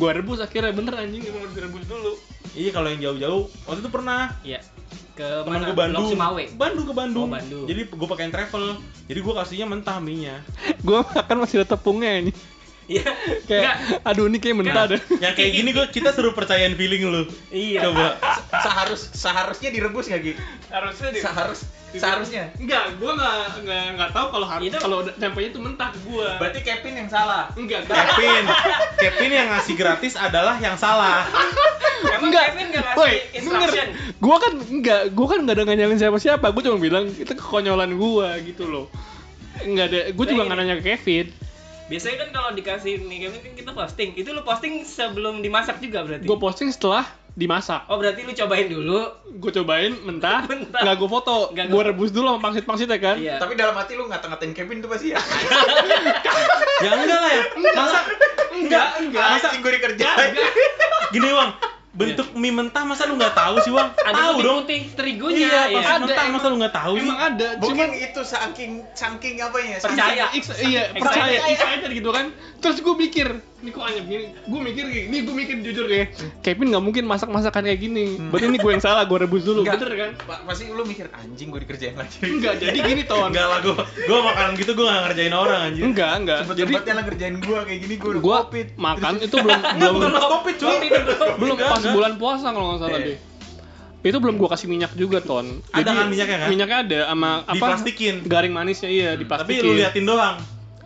[SPEAKER 5] gue rebus akhirnya bener anjing gitu. emang harus direbus dulu.
[SPEAKER 2] iya kalau yang jauh-jauh waktu itu pernah
[SPEAKER 1] iya ke
[SPEAKER 2] teman
[SPEAKER 1] mana
[SPEAKER 2] gue Bandung
[SPEAKER 1] Blok Cimawe
[SPEAKER 2] Bandung ke
[SPEAKER 1] Oh,
[SPEAKER 2] Bandung,
[SPEAKER 1] Bandung.
[SPEAKER 2] jadi gue pakein travel jadi gue kasihnya mentah minyak
[SPEAKER 5] Gue makan masih ada tepungnya ini.
[SPEAKER 1] iya enggak
[SPEAKER 5] Kayak aduh ini kayak mentah deh.
[SPEAKER 2] Nah, yang kayak gini gue kita suruh percayaan feeling lu
[SPEAKER 1] iya
[SPEAKER 2] coba
[SPEAKER 4] Seharus seharusnya direbus nggak Ki?
[SPEAKER 5] Harusnya di
[SPEAKER 4] Seharus seharusnya.
[SPEAKER 5] Enggak, gue nggak nggak nggak tahu kalau harus
[SPEAKER 1] Itu-
[SPEAKER 5] kalau udah- tempenya tuh mentah ke gue.
[SPEAKER 4] Berarti Kevin yang salah.
[SPEAKER 5] Enggak, enggak.
[SPEAKER 2] Kevin Kevin yang ngasih gratis adalah yang salah
[SPEAKER 1] emang
[SPEAKER 5] Enggak.
[SPEAKER 1] Kevin nggak
[SPEAKER 5] Woi,
[SPEAKER 1] ngasih instruction
[SPEAKER 5] denger. Gua kan enggak, gua kan enggak ada nganyalin siapa-siapa. Gua cuma bilang itu kekonyolan gua gitu loh. Enggak ada, gua juga
[SPEAKER 1] Nah,
[SPEAKER 5] enggak
[SPEAKER 1] ini.
[SPEAKER 5] nanya ke Kevin.
[SPEAKER 1] biasanya kan kalau dikasih nih Kevin kan kita posting itu lu posting sebelum dimasak juga berarti
[SPEAKER 5] Gua posting setelah dimasak.
[SPEAKER 1] Oh berarti lu cobain dulu.
[SPEAKER 5] Gue cobain mentah,
[SPEAKER 1] Mentah.
[SPEAKER 5] nggak gue foto.
[SPEAKER 1] Nggak
[SPEAKER 5] Gue
[SPEAKER 1] gua-
[SPEAKER 5] rebus dulu sama pangsit-pangsitnya kan.
[SPEAKER 1] Iya.
[SPEAKER 4] Tapi dalam hati lu ngata-ngatain Kevin tuh pasti ya.
[SPEAKER 2] Ya enggak lah ya. Masa enggak enggak. Masa
[SPEAKER 4] Anjing gue dikerjain.
[SPEAKER 2] gini, Wang. Bentuk mie mentah masa lu enggak tahu sih, Wang?
[SPEAKER 1] Ada
[SPEAKER 2] Tahu dong.
[SPEAKER 1] putih terigunya.
[SPEAKER 2] Iya,
[SPEAKER 1] iya.
[SPEAKER 2] pas mentah masa lu enggak tahu sih?
[SPEAKER 5] Emang ada,
[SPEAKER 4] Mungkin
[SPEAKER 5] cuman
[SPEAKER 4] itu saking saking apa ya?
[SPEAKER 1] Percaya.
[SPEAKER 5] Ex- iya, percaya, excited gitu kan. Terus gue mikir, ini kok anjir gini? Gue mikir kayak gini, gue mikir jujur ya. Kevin nggak mungkin masak masakan kayak gini.
[SPEAKER 2] Hmm.
[SPEAKER 5] Berarti ini gue yang salah, gue rebus dulu,
[SPEAKER 4] Nggak.
[SPEAKER 5] bener kan?
[SPEAKER 4] Pa- Pasti lu mikir anjing gue dikerjain lagi.
[SPEAKER 5] Enggak, jadi gini ton.
[SPEAKER 2] Enggak lah gua. Gua makanan gitu gua enggak ngerjain orang anjir.
[SPEAKER 5] Enggak, enggak. Jadi
[SPEAKER 4] Cepet-cepetnya lah ngerjain gue kayak gini gue
[SPEAKER 5] gue makan itu belum
[SPEAKER 2] Enggak
[SPEAKER 5] belum
[SPEAKER 2] bukan pas covid, cuy.
[SPEAKER 5] belum
[SPEAKER 2] Enggak,
[SPEAKER 5] pas
[SPEAKER 2] enggak.
[SPEAKER 5] bulan puasa kalau nggak salah
[SPEAKER 4] Iya.
[SPEAKER 5] deh. Itu belum gua kasih minyak juga, Ton.
[SPEAKER 2] Ada kan minyaknya, kan?
[SPEAKER 5] Minyaknya ada sama apa?
[SPEAKER 2] Diplastikin.
[SPEAKER 5] Garing manisnya iya,
[SPEAKER 2] Tapi
[SPEAKER 5] diplastikin.
[SPEAKER 2] lu liatin doang.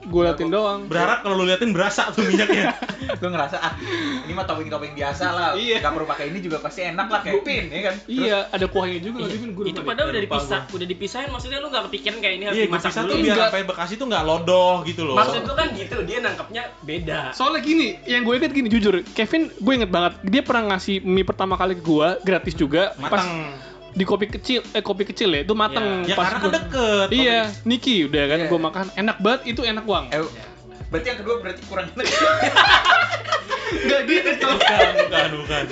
[SPEAKER 5] Gua liatin doang.
[SPEAKER 2] Berharap kalau lu liatin berasa tuh minyaknya.
[SPEAKER 4] gue ngerasa ah ini mah topping-topping biasa lah.
[SPEAKER 5] Iya.
[SPEAKER 4] Gak perlu pakai ini juga pasti enak lah Kevin ya kan.
[SPEAKER 5] Iya, ada kuahnya juga lagi Vin, gua
[SPEAKER 1] itu
[SPEAKER 5] lupa deh.
[SPEAKER 1] padahal udah
[SPEAKER 2] lupa
[SPEAKER 1] dipisah,
[SPEAKER 2] gua.
[SPEAKER 1] udah dipisahin maksudnya lu nggak kepikiran kayak ini harus
[SPEAKER 2] Iya,
[SPEAKER 1] dimasak
[SPEAKER 2] bisa
[SPEAKER 1] dulu.
[SPEAKER 2] tuh biar
[SPEAKER 5] Enggak.
[SPEAKER 2] sampai Bekasi tuh enggak lodoh gitu loh.
[SPEAKER 1] Maksud lu kan gitu, dia nangkepnya beda.
[SPEAKER 5] Soalnya gini, yang gue inget gini jujur, Kevin gue inget banget dia pernah ngasih mie pertama kali ke gue gratis juga pas
[SPEAKER 2] matang.
[SPEAKER 5] di kopi kecil eh kopi kecil ya itu mateng
[SPEAKER 2] Ya
[SPEAKER 5] pas
[SPEAKER 2] karena kan
[SPEAKER 5] gua-
[SPEAKER 2] deket.
[SPEAKER 5] iya Niki udah kan
[SPEAKER 4] Iya.
[SPEAKER 5] gue makan enak banget itu enak uang
[SPEAKER 4] Eh, berarti yang kedua berarti kurang
[SPEAKER 5] Nggak gitu Ton.
[SPEAKER 2] Bukan, bukan, bukan.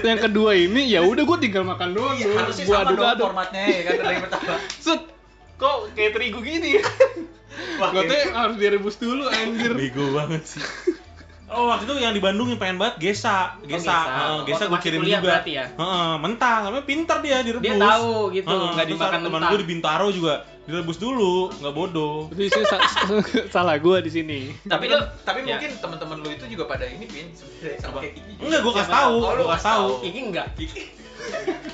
[SPEAKER 5] yang kedua ini ya udah gue tinggal makan doang
[SPEAKER 4] Iya,
[SPEAKER 5] gua
[SPEAKER 4] harusnya
[SPEAKER 5] gue
[SPEAKER 4] sama
[SPEAKER 5] aduk
[SPEAKER 4] dong
[SPEAKER 5] aduk
[SPEAKER 4] formatnya ya kan dari pertama.
[SPEAKER 5] set kok kayak terigu gini
[SPEAKER 4] Wah,
[SPEAKER 5] gue teh harus direbus dulu anjir
[SPEAKER 2] Bego banget sih. Oh waktu itu yang di Bandung yang pengen banget Gesa,
[SPEAKER 1] Oh,
[SPEAKER 2] Gesa,
[SPEAKER 1] Gesa.
[SPEAKER 2] Heeh,
[SPEAKER 1] Waktu
[SPEAKER 2] Gesa gue
[SPEAKER 1] masih
[SPEAKER 2] kirim
[SPEAKER 1] kuliah
[SPEAKER 2] juga.
[SPEAKER 1] berarti ya?
[SPEAKER 2] Heeh, mentah, tapi pinter dia direbus.
[SPEAKER 1] Dia tahu gitu,
[SPEAKER 2] Heeh,
[SPEAKER 1] nggak
[SPEAKER 2] terus
[SPEAKER 1] dimakan
[SPEAKER 2] ada Teman
[SPEAKER 1] mentah.
[SPEAKER 2] gue di Bintaro juga direbus dulu, nggak bodoh.
[SPEAKER 5] itu isinya sa- salah gue di sini
[SPEAKER 4] tapi
[SPEAKER 1] Tapi lu-
[SPEAKER 4] tapi
[SPEAKER 1] ya.
[SPEAKER 4] mungkin teman-teman lu itu juga pada ini pin sebenarnya
[SPEAKER 2] Apa?
[SPEAKER 4] sama kayak gini.
[SPEAKER 2] Enggak, gua kasih
[SPEAKER 4] Siapa
[SPEAKER 2] tahu,
[SPEAKER 4] Oh, lu
[SPEAKER 2] gua kasih tahu.
[SPEAKER 1] Iki enggak.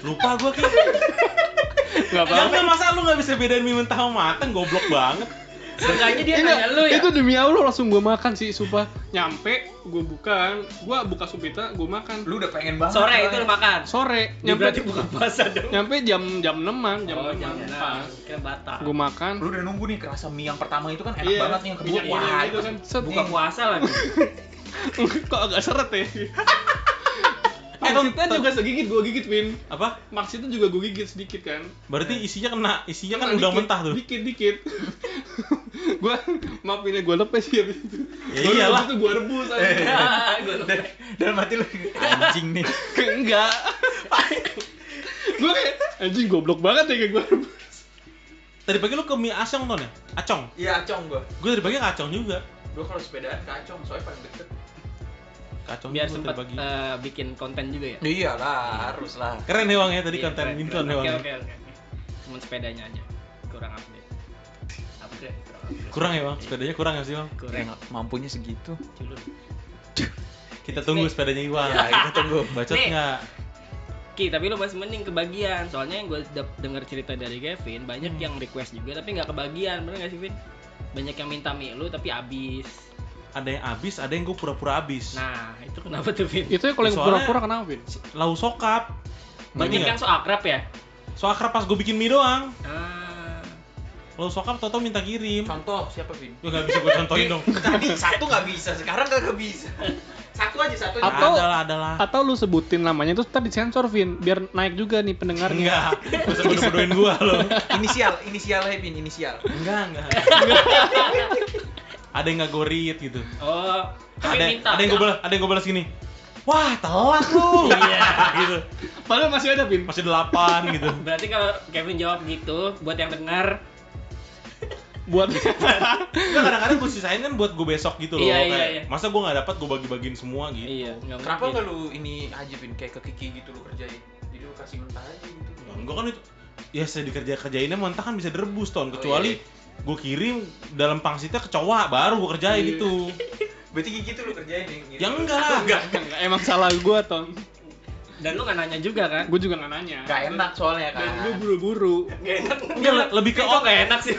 [SPEAKER 2] Lupa gue kan.
[SPEAKER 5] nggak apa
[SPEAKER 2] Jangan masa lu nggak bisa bedain mie mentah sama mateng, goblok banget.
[SPEAKER 1] Seenggaknya dia
[SPEAKER 5] Enggak,
[SPEAKER 1] nanya lu ya.
[SPEAKER 5] Iya, Itu demi Allah langsung gue makan sih, sumpah. Nyampe, gue buka, gue buka supita, gue makan.
[SPEAKER 4] Lu udah pengen banget.
[SPEAKER 1] Sore
[SPEAKER 4] Bang.
[SPEAKER 1] itu lu makan.
[SPEAKER 5] Sore,
[SPEAKER 1] Dia berarti
[SPEAKER 5] nyampe,
[SPEAKER 1] buka puasa dong.
[SPEAKER 5] nyampe jam jam eneman, jam
[SPEAKER 1] Oh,
[SPEAKER 5] eneman
[SPEAKER 1] jangan.
[SPEAKER 5] pas.
[SPEAKER 1] Kira batal.
[SPEAKER 5] Gue makan.
[SPEAKER 4] Lu udah nunggu nih kerasa mie yang pertama itu kan enak
[SPEAKER 5] Iya,
[SPEAKER 4] banget nih yang kedua.
[SPEAKER 5] minyak
[SPEAKER 4] Wah,
[SPEAKER 5] goreng
[SPEAKER 4] itu
[SPEAKER 5] gitu kan. Set.
[SPEAKER 1] Buka puasa lagi.
[SPEAKER 5] Kok agak seret ya? Maksudnya juga segigit, gue gigit, Win.
[SPEAKER 2] Apa?
[SPEAKER 5] Maksudnya juga gue gigit sedikit kan.
[SPEAKER 2] Berarti isinya kena, isinya kan
[SPEAKER 5] Cuma
[SPEAKER 2] udah
[SPEAKER 5] dikit,
[SPEAKER 2] mentah tuh.
[SPEAKER 5] Dikit, dikit. gue maafin ya, gue lepes ya. abis itu.
[SPEAKER 2] Ya
[SPEAKER 5] Baru
[SPEAKER 2] iyalah.
[SPEAKER 5] abis itu gue rebus aja.
[SPEAKER 4] kan
[SPEAKER 1] Gua lupa.
[SPEAKER 4] Dan mati lu anjing nih.
[SPEAKER 5] enggak gue kayak anjing goblok banget ya kayak gue
[SPEAKER 2] Tadi pagi lu ke mie acong ton ya? Acong.
[SPEAKER 4] Iya, acong gua.
[SPEAKER 2] Gue tadi pagi ke acong juga.
[SPEAKER 4] Gua kalau sepedaan ke acong soalnya paling deket.
[SPEAKER 2] Ke acong
[SPEAKER 1] Biar
[SPEAKER 2] juga
[SPEAKER 1] sempat
[SPEAKER 2] tadi pagi.
[SPEAKER 1] eh, bikin konten juga ya.
[SPEAKER 4] Iyalah, harus Iya lah.
[SPEAKER 2] Keren ya Wang ya tadi
[SPEAKER 1] Iya,
[SPEAKER 2] konten
[SPEAKER 1] keren,
[SPEAKER 2] Winton
[SPEAKER 1] keren.
[SPEAKER 2] ya Wang.
[SPEAKER 1] Oke,
[SPEAKER 2] ya.
[SPEAKER 1] oke, oke. Cuman sepedanya aja. Kurang update. Upgrade. kurang upgrade.
[SPEAKER 2] Kurang ya Wang, sepedanya kurang ya sih Wang.
[SPEAKER 1] Kurang.
[SPEAKER 4] mampunya segitu.
[SPEAKER 1] Culun.
[SPEAKER 2] Kita tunggu
[SPEAKER 1] Nih. Iya.
[SPEAKER 2] sepedanya Iwan.
[SPEAKER 4] Ya, kita tunggu.
[SPEAKER 2] Bacot
[SPEAKER 1] Nih.
[SPEAKER 2] nggak?
[SPEAKER 1] Ki, tapi lu masih mending kebagian. Soalnya yang gue denger cerita dari Kevin, banyak yang request juga tapi nggak kebagian. Bener nggak sih, Vin? Banyak yang minta mie lu tapi abis.
[SPEAKER 2] Ada yang abis, ada yang gue pura-pura abis.
[SPEAKER 1] Nah, itu kenapa tuh, Vin?
[SPEAKER 5] itu ya kalau yang
[SPEAKER 2] Soalnya-
[SPEAKER 5] pura-pura kenapa Vin?
[SPEAKER 2] Lau sokap.
[SPEAKER 1] Banyak yang so akrab ya?
[SPEAKER 2] Soal akrab pas gue bikin mie doang.
[SPEAKER 1] Ah.
[SPEAKER 2] Lau sokap toto minta kirim.
[SPEAKER 4] Contoh siapa, Vin?
[SPEAKER 2] Lu nggak bisa gue contohin dong.
[SPEAKER 4] Tadi satu nggak bisa, sekarang kagak bisa. Satu aja satu.
[SPEAKER 5] Apa?
[SPEAKER 4] Aja.
[SPEAKER 5] Atau-
[SPEAKER 2] Adalah, adalah.
[SPEAKER 5] atau lu sebutin namanya terus ntar disensor Vin biar naik juga nih pendengarnya
[SPEAKER 2] Enggak, lu sebodoh-bodohin gue lo.
[SPEAKER 4] Inisial, inisial aja, Vin, inisial.
[SPEAKER 2] Enggak, enggak. ada yang nggak gue read gitu.
[SPEAKER 1] Oh, tapi
[SPEAKER 2] Ada,
[SPEAKER 1] minta.
[SPEAKER 2] ada yang gue balas, ada yang gue balas gini. Wah, telat lu. Iya, gitu.
[SPEAKER 5] padahal masih ada Vin
[SPEAKER 2] Masih delapan gitu.
[SPEAKER 1] Berarti kalau Kevin jawab gitu, buat yang dengar,
[SPEAKER 5] buat
[SPEAKER 2] Enggak kadang-kadang gue sisain kan buat gue besok gitu loh.
[SPEAKER 1] Iya, iya,
[SPEAKER 2] kayak,
[SPEAKER 1] iya.
[SPEAKER 2] Masa gue nggak dapat gue bagi-bagiin semua gitu.
[SPEAKER 1] iya, nggak
[SPEAKER 4] Kenapa
[SPEAKER 1] mungkin.
[SPEAKER 4] nggak lu ini aja, Vin, kayak ke Kiki gitu lu kerjain? Jadi lu kasih mentah aja gitu.
[SPEAKER 2] Ya, enggak kan itu ya saya dikerja kerjainnya mentah kan bisa direbus ton kecuali
[SPEAKER 4] Oh,
[SPEAKER 2] gue kirim dalam pangsitnya kecoa baru gue kerjain
[SPEAKER 5] Iya.
[SPEAKER 2] gitu
[SPEAKER 4] Berarti Kiki tuh lu kerjain yang
[SPEAKER 2] ya enggak lah enggak
[SPEAKER 5] Enggak, emang salah gue Tom
[SPEAKER 1] Dan lu nggak nanya juga kan?
[SPEAKER 5] gue juga nggak nanya
[SPEAKER 4] Gak enak soalnya kan.
[SPEAKER 5] dan gue buru-buru
[SPEAKER 1] Gak enak.
[SPEAKER 2] Enggak, le- lebih ke
[SPEAKER 1] Vin, kok
[SPEAKER 2] otak.
[SPEAKER 1] nggak enak sih.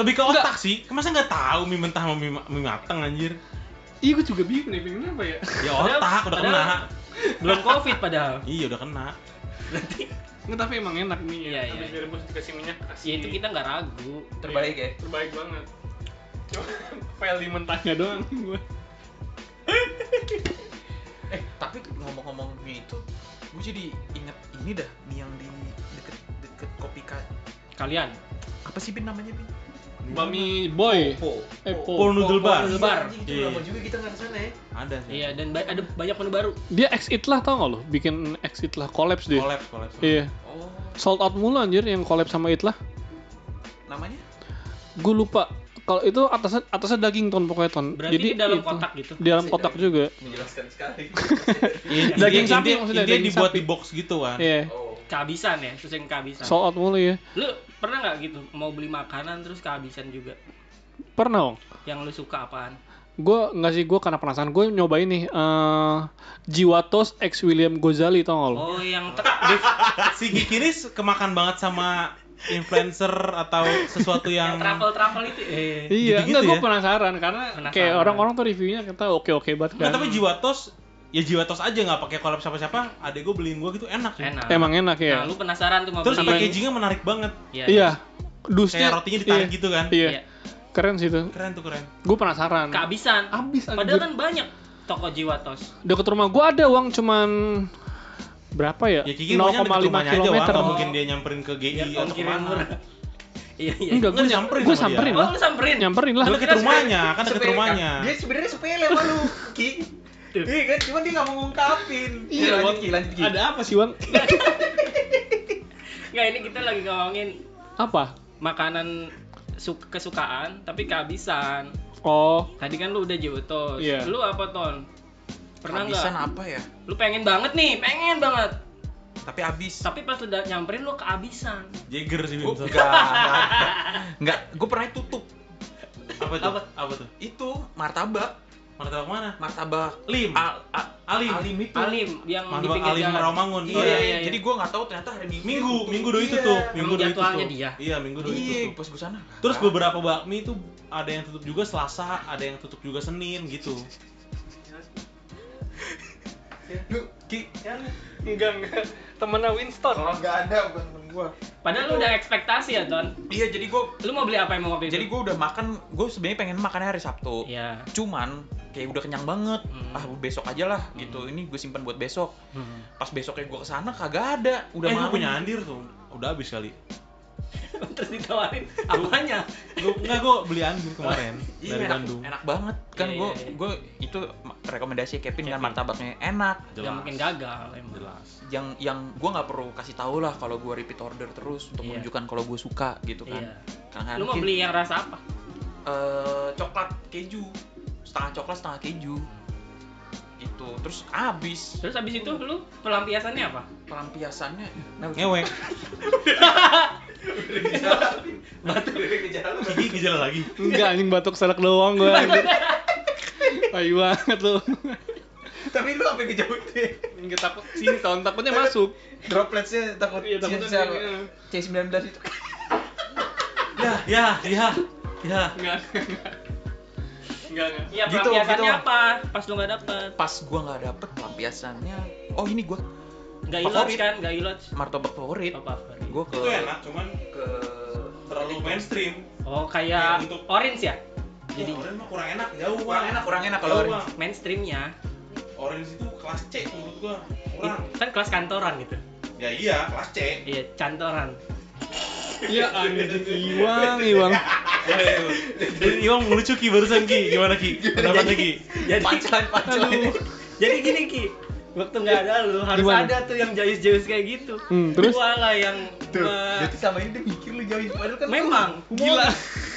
[SPEAKER 2] lebih ke otak sih masa nggak tahu mie mentah sama mie, ma- mie mateng anjir
[SPEAKER 5] iya gue juga bingung nih Vin kenapa ya
[SPEAKER 2] ya
[SPEAKER 1] Padahal-
[SPEAKER 2] otak udah
[SPEAKER 1] padahal-
[SPEAKER 2] kena
[SPEAKER 1] Belum covid padahal.
[SPEAKER 2] iya udah kena
[SPEAKER 5] nggak tapi emang enak nih
[SPEAKER 1] Iya, iya.
[SPEAKER 5] habis direbus dikasih minyak
[SPEAKER 1] Ya
[SPEAKER 5] kasih
[SPEAKER 1] itu kita nggak ragu.
[SPEAKER 4] Terbaik ya.
[SPEAKER 5] terbaik banget Cuma, file di mentahnya doang gue
[SPEAKER 4] Eh, tak tapi ngomong-ngomong gitu gue jadi inget ini dah mie yang di deket deket kopi ka
[SPEAKER 1] Kalian
[SPEAKER 4] apa sih bin namanya bin
[SPEAKER 5] Mami boy.
[SPEAKER 4] po
[SPEAKER 5] Eh, Po.
[SPEAKER 2] Paul Noodle Bar.
[SPEAKER 4] Iya,
[SPEAKER 1] Bar.
[SPEAKER 4] anjing, itu
[SPEAKER 2] Iya.
[SPEAKER 4] lama juga kita nggak kesana ya
[SPEAKER 2] Ada sih.
[SPEAKER 1] Iya, dan ba- ada banyak menu baru.
[SPEAKER 5] Dia exit lah tau gak lo? Bikin exit lah collapse dia.
[SPEAKER 2] Collab, collab.
[SPEAKER 5] Iya.
[SPEAKER 4] oh
[SPEAKER 5] Sold out mulu anjir yang collab sama Itlah.
[SPEAKER 4] namanya
[SPEAKER 5] Gue lupa. Kalau itu atasnya atasnya daging ton pokoknya ton.
[SPEAKER 1] Berarti
[SPEAKER 5] Jadi
[SPEAKER 1] di dalam
[SPEAKER 5] itu.
[SPEAKER 1] kotak gitu. Iya,
[SPEAKER 5] Di dalam kotak juga.
[SPEAKER 4] menjelaskan sekali
[SPEAKER 5] Daging
[SPEAKER 2] Intinya-
[SPEAKER 5] sapi maksudnya,
[SPEAKER 2] Intinya
[SPEAKER 5] daging
[SPEAKER 2] dibuat
[SPEAKER 5] sapi.
[SPEAKER 2] di box gitu kan.
[SPEAKER 5] Iya.
[SPEAKER 4] oh
[SPEAKER 1] Kehabisan ya, terus yang kehabisan.
[SPEAKER 5] Sold out mulu ya.
[SPEAKER 1] Lu pernah nggak gitu mau beli makanan terus kehabisan juga?
[SPEAKER 5] Pernah, Ong.
[SPEAKER 1] Yang lu suka apaan?
[SPEAKER 5] Gue nggak sih gue karena penasaran gue nyobain nih eh Jiwa Toast ex William Gozali tau gak lo?
[SPEAKER 1] Oh, yang te- di-
[SPEAKER 2] Si Gikiris kemakan banget sama influencer atau sesuatu
[SPEAKER 1] yang
[SPEAKER 2] yang
[SPEAKER 1] travel-travel itu. Eh.
[SPEAKER 5] Iya,
[SPEAKER 2] gitu-gitu
[SPEAKER 5] enggak gue
[SPEAKER 2] ya?
[SPEAKER 5] penasaran karena kayak
[SPEAKER 1] Penasaran.
[SPEAKER 5] orang-orang tuh reviewnya kata oke-oke banget
[SPEAKER 2] Nggak,
[SPEAKER 5] kan.
[SPEAKER 2] tapi jiwa tos ya jiwa tos aja nggak pakai collab siapa-siapa. Adek gue beliin gue gitu enak sih.
[SPEAKER 1] Enak.
[SPEAKER 5] Emang enak ya.
[SPEAKER 2] iya,
[SPEAKER 1] Nah, lu penasaran tuh mau
[SPEAKER 2] Terus
[SPEAKER 1] beli.
[SPEAKER 2] packagingnya menarik banget.
[SPEAKER 1] Iya.
[SPEAKER 5] Iya. Dusnya
[SPEAKER 2] Kayak rotinya ditarik
[SPEAKER 5] iya,
[SPEAKER 2] gitu kan.
[SPEAKER 5] Iya.
[SPEAKER 1] Iya.
[SPEAKER 5] Keren sih itu.
[SPEAKER 2] Keren tuh keren.
[SPEAKER 5] Gue penasaran.
[SPEAKER 1] Kehabisan.
[SPEAKER 5] Abis
[SPEAKER 1] Padahal
[SPEAKER 5] anjir.
[SPEAKER 1] kan banyak toko jiwa tos.
[SPEAKER 5] Deket rumah gue ada uang cuman berapa ya?
[SPEAKER 2] Ya Kiki maunya deket rumahnya aja, Wang. Nggak
[SPEAKER 1] Oh.
[SPEAKER 2] mungkin dia nyamperin ke GI
[SPEAKER 1] Biar
[SPEAKER 2] atau
[SPEAKER 1] om kirim
[SPEAKER 2] kemana.
[SPEAKER 1] murah. Iya, iya.
[SPEAKER 5] Enggak, gue
[SPEAKER 2] Nggak, disamperin sama
[SPEAKER 5] Gue
[SPEAKER 2] dia.
[SPEAKER 5] samperin
[SPEAKER 1] Oh,
[SPEAKER 5] lah.
[SPEAKER 1] lu samperin.
[SPEAKER 5] Nyamperin lah.
[SPEAKER 2] Dia deket rumahnya, kan deket rumahnya.
[SPEAKER 4] dia sebenarnya sepele sama lu ki
[SPEAKER 1] Tuh.
[SPEAKER 4] iya kan cuma dia nggak mau ngungkapin
[SPEAKER 2] Iya,
[SPEAKER 4] Ya, lanjut ki lanjut ki
[SPEAKER 5] Ada apa sih, Bang?
[SPEAKER 1] Enggak, ini kita lagi ngomongin
[SPEAKER 5] apa?
[SPEAKER 1] makanan su- kesukaan tapi kehabisan.
[SPEAKER 5] Oh,
[SPEAKER 1] Tadi kan lu udah jiwa tos.
[SPEAKER 5] Iya.
[SPEAKER 1] Lu apa, Ton? Pernah
[SPEAKER 4] Habisan
[SPEAKER 1] nggak?
[SPEAKER 4] apa ya
[SPEAKER 1] Lu pengen banget nih, pengen banget.
[SPEAKER 4] tapi abis
[SPEAKER 1] Tapi pas udah nyamperin lu kehabisan.
[SPEAKER 2] Jagger sih
[SPEAKER 4] Gua-
[SPEAKER 2] bisa.
[SPEAKER 4] Oh, enggak enggak. enggak gue pernah tutup
[SPEAKER 2] Apa tuh?
[SPEAKER 4] Apa?
[SPEAKER 2] Apa tuh?
[SPEAKER 4] itu martabak
[SPEAKER 2] Martabak mana?
[SPEAKER 4] martabak
[SPEAKER 2] Lim.
[SPEAKER 4] al, al-
[SPEAKER 2] Alim.
[SPEAKER 4] alim itu
[SPEAKER 1] Alim yang di
[SPEAKER 2] Martabak
[SPEAKER 1] pinggir
[SPEAKER 2] Alim
[SPEAKER 1] jalan.
[SPEAKER 2] Rawamangun.
[SPEAKER 4] Iya,
[SPEAKER 1] Oh, iya, iya.
[SPEAKER 4] jadi gue nggak tahu ternyata hari Minggu
[SPEAKER 2] Minggu,
[SPEAKER 4] tutup.
[SPEAKER 2] minggu doi itu
[SPEAKER 4] Iya.
[SPEAKER 2] tuh, minggu
[SPEAKER 1] Emang
[SPEAKER 2] doi itu
[SPEAKER 1] jadwalnya
[SPEAKER 2] tuh.
[SPEAKER 1] dia.
[SPEAKER 2] Iya, minggu doi itu
[SPEAKER 4] Iya,
[SPEAKER 2] tuh.
[SPEAKER 4] pas gue sana.
[SPEAKER 2] Terus beberapa bakmi itu ada yang tutup juga Selasa, ada yang tutup juga Senin gitu.
[SPEAKER 4] Lu, Ki,
[SPEAKER 5] enggak enggak. Temennya Winston.
[SPEAKER 2] Oh,
[SPEAKER 4] kalau nggak ada bukan temen gue.
[SPEAKER 1] Padahal lu udah ekspektasi ya, Ton.
[SPEAKER 4] Iya, jadi gue,
[SPEAKER 1] Lu mau beli apa emang waktu itu?
[SPEAKER 4] jadi gue udah makan. Gue sebenarnya pengen makannya hari Sabtu.
[SPEAKER 1] Iya.
[SPEAKER 4] Cuman kayak udah kenyang banget.
[SPEAKER 1] Hmm.
[SPEAKER 4] Ah, besok aja lah
[SPEAKER 1] Hmm.
[SPEAKER 4] gitu. Ini gue simpan buat besok.
[SPEAKER 1] Hmm.
[SPEAKER 4] Pas besoknya gue kesana kagak ada.
[SPEAKER 2] Udah
[SPEAKER 4] Udah
[SPEAKER 2] eh,
[SPEAKER 4] malam.
[SPEAKER 2] gue punya andir tuh. Udah habis kali.
[SPEAKER 1] Terus ditawarin apanya?
[SPEAKER 2] Gua enggak gue beli andir kemarin
[SPEAKER 4] Iya,
[SPEAKER 2] dari
[SPEAKER 4] enak,
[SPEAKER 2] Bandung.
[SPEAKER 4] enak banget kan
[SPEAKER 1] Iya,
[SPEAKER 4] gue
[SPEAKER 1] iya, iya.
[SPEAKER 4] gue itu ma- rekomendasi Kevin dengan
[SPEAKER 2] Kevin.
[SPEAKER 4] martabaknya enak
[SPEAKER 1] Ya mungkin gagal emang.
[SPEAKER 2] Jelas.
[SPEAKER 4] yang yang gue nggak perlu kasih tahu lah kalau gue repeat order terus untuk
[SPEAKER 1] Iya.
[SPEAKER 4] menunjukkan kalau gue suka gitu kan
[SPEAKER 1] Iya.
[SPEAKER 4] Karena
[SPEAKER 1] Lu mau
[SPEAKER 4] mungkin,
[SPEAKER 1] beli yang rasa apa?
[SPEAKER 4] eh, coklat keju setengah coklat setengah keju gitu terus abis
[SPEAKER 1] Terus abis itu lu pelampiasannya apa?
[SPEAKER 4] pelampiasannya nah,
[SPEAKER 2] Ngewek.
[SPEAKER 4] batu
[SPEAKER 2] Gigi gejala lagi.
[SPEAKER 5] Enggak, anjing batuk selek doang gue. Ayu banget lu.
[SPEAKER 4] tapi lu sampai kejauh deh
[SPEAKER 5] Enggak takut sini tahun takutnya masuk.
[SPEAKER 4] dropletsnya takut
[SPEAKER 5] Iya, takutnya
[SPEAKER 4] C-
[SPEAKER 5] dia- iya.
[SPEAKER 4] C19 itu Nah,
[SPEAKER 2] Ya, ya, ya. Ya.
[SPEAKER 5] Enggak. Enggak enggak.
[SPEAKER 1] Iya,
[SPEAKER 4] Gitu,
[SPEAKER 1] pelampiasannya
[SPEAKER 4] gitu.
[SPEAKER 1] apa? Pas lu nggak dapet
[SPEAKER 4] pas gua nggak dapet pelampiasannya oh ini gua
[SPEAKER 1] Nggak
[SPEAKER 4] Favorit.
[SPEAKER 1] ilots kan? Nggak ilots.
[SPEAKER 4] martabak favorit
[SPEAKER 1] Apa favorit?
[SPEAKER 4] gua ke
[SPEAKER 2] Itu enak, cuman
[SPEAKER 4] ke
[SPEAKER 2] terlalu mainstream.
[SPEAKER 1] Oh, kayak
[SPEAKER 2] Kayak
[SPEAKER 4] gitu.
[SPEAKER 2] untuk-
[SPEAKER 1] orange ya?
[SPEAKER 2] Jadi
[SPEAKER 1] Jadi
[SPEAKER 4] Iya.
[SPEAKER 2] orange mah kurang enak, jauh
[SPEAKER 4] kurang
[SPEAKER 2] Bang.
[SPEAKER 4] enak kurang enak kalau
[SPEAKER 2] Jauh,
[SPEAKER 4] orange.
[SPEAKER 2] Bang.
[SPEAKER 1] mainstreamnya
[SPEAKER 2] Orange itu kelas C menurut gua. Kurang.
[SPEAKER 1] kan kelas kantoran gitu.
[SPEAKER 2] Ya iya, kelas C.
[SPEAKER 1] Iya, cantoran.
[SPEAKER 5] Iya anjing Iwang, Iwang.
[SPEAKER 2] Jadi Iwang lucu Ki barusan Ki. Gimana Ki? Pendapatnya Ki?
[SPEAKER 1] Jadi
[SPEAKER 4] pancelan pancelan
[SPEAKER 1] Jadi gini Ki, waktu nggak ada lu harus
[SPEAKER 5] Gimana?
[SPEAKER 1] ada tuh yang jayus-jayus kayak gitu.
[SPEAKER 5] Hmm, terus?
[SPEAKER 1] Gua lah yang
[SPEAKER 4] Tuh,
[SPEAKER 1] eh,
[SPEAKER 4] jadi sama ini dia mikir lu jauh padahal kan
[SPEAKER 1] memang
[SPEAKER 5] Gila.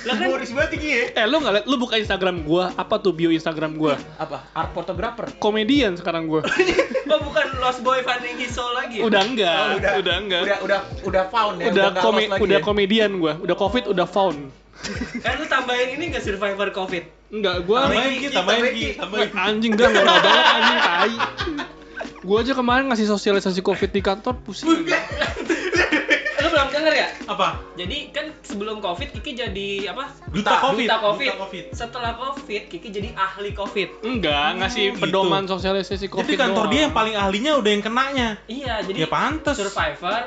[SPEAKER 1] Lah kan
[SPEAKER 4] humoris banget Ki ya
[SPEAKER 5] Eh lu nggak liat? Lu buka Instagram gua? Apa tuh bio Instagram gua?
[SPEAKER 4] apa art fotografer
[SPEAKER 5] Komedian sekarang gua.
[SPEAKER 1] oh, bukan Lost Boy Finding His Soul lagi. ya?
[SPEAKER 5] Udah enggak. Iya. Oh, udah, enggak.
[SPEAKER 4] udah udah udah found ya
[SPEAKER 5] udah
[SPEAKER 4] nggak
[SPEAKER 5] kome-
[SPEAKER 4] lost lagi
[SPEAKER 5] udah
[SPEAKER 4] ya.
[SPEAKER 5] komedian gua. Udah covid, udah found.
[SPEAKER 1] Eh lu tambahin ini nggak Survivor Covid?
[SPEAKER 5] Enggak, gua
[SPEAKER 2] Tambahin Ki, tambahin Ki, tambahin.
[SPEAKER 5] anjing dah enggak tahu banget anjing tai. Gua aja kemarin ngasih sosialisasi covid di kantor pusing.
[SPEAKER 1] Lu belum denger ya?
[SPEAKER 2] Apa?
[SPEAKER 1] Jadi kan sebelum Covid Kiki jadi apa?
[SPEAKER 2] Duta Covid.
[SPEAKER 1] Duta Covid. Setelah Covid Kiki jadi ahli Covid.
[SPEAKER 5] Enggak, ngasih
[SPEAKER 2] gitu.
[SPEAKER 5] pedoman sosialisasi covid.
[SPEAKER 2] Jadi kantor
[SPEAKER 5] doang.
[SPEAKER 2] dia yang paling ahlinya udah yang kenanya.
[SPEAKER 1] Iya, jadi
[SPEAKER 2] Ya pantes.
[SPEAKER 1] Survivor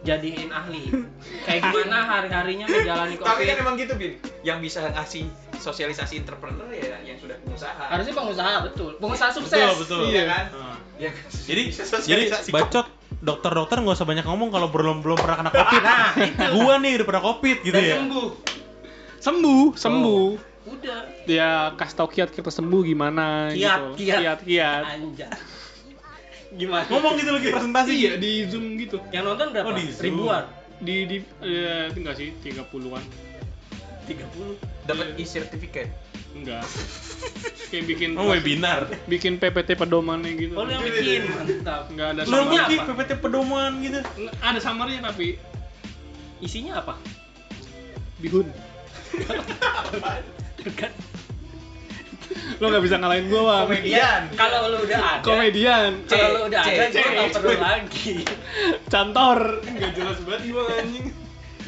[SPEAKER 1] jadiin ahli. Kayak gimana hari-harinya menjalani
[SPEAKER 4] tapi kan
[SPEAKER 1] Covid?
[SPEAKER 4] emang gitu bin yang bisa ngasih sosialisasi entrepreneur ya yang sudah pengusaha
[SPEAKER 1] Harusnya pengusaha betul, pengusaha sukses.
[SPEAKER 2] Betul, betul.
[SPEAKER 5] Iya.
[SPEAKER 4] kan?
[SPEAKER 2] Nah,
[SPEAKER 4] Iya kan?
[SPEAKER 2] Jadi jadi
[SPEAKER 4] Sosialisasi
[SPEAKER 2] bacot dokter-dokter nggak usah banyak ngomong kalau belum belum pernah kena covid. Nah, gua nih udah pernah covid gitu
[SPEAKER 1] Dan
[SPEAKER 2] ya.
[SPEAKER 1] sembuh.
[SPEAKER 5] sembuh sembuh
[SPEAKER 1] Udah.
[SPEAKER 5] ya kasih tau kiat kita sembuh gimana
[SPEAKER 1] Kiat,
[SPEAKER 5] gitu
[SPEAKER 1] kiat.
[SPEAKER 5] kiat kiat
[SPEAKER 1] Anjay. Gimana?
[SPEAKER 2] Ngomong gitu lagi presentasi.
[SPEAKER 5] iya di zoom gitu
[SPEAKER 1] Yang nonton berapa?
[SPEAKER 2] Oh, di Zoom.
[SPEAKER 1] Ribuan.
[SPEAKER 5] di di eh, enggak sih 30-an
[SPEAKER 1] 30.
[SPEAKER 4] Dapat e-certificate.
[SPEAKER 5] enggak kayak bikin
[SPEAKER 2] Oh, webinar.
[SPEAKER 5] bikin PPT pedomannya gitu
[SPEAKER 1] Oh, lu yang
[SPEAKER 2] ya?
[SPEAKER 1] bikin. Mantap.
[SPEAKER 5] enggak ada
[SPEAKER 1] Isinya
[SPEAKER 2] Lu
[SPEAKER 5] summary.
[SPEAKER 2] bikin
[SPEAKER 1] apa?
[SPEAKER 2] PPT pedoman gitu.
[SPEAKER 5] ada summary tapi
[SPEAKER 1] Isinya apa?
[SPEAKER 5] bihun lo nggak bisa ngalahin gua bang
[SPEAKER 4] Komedian.
[SPEAKER 1] Iya, Kalau lu udah ada.
[SPEAKER 5] komedian
[SPEAKER 4] C,
[SPEAKER 1] Kalau lu udah
[SPEAKER 4] C,
[SPEAKER 1] ada,
[SPEAKER 4] C,
[SPEAKER 1] gua nggak
[SPEAKER 4] C.
[SPEAKER 1] perlu lagi.
[SPEAKER 5] cantor nggak jelas banget gua anjing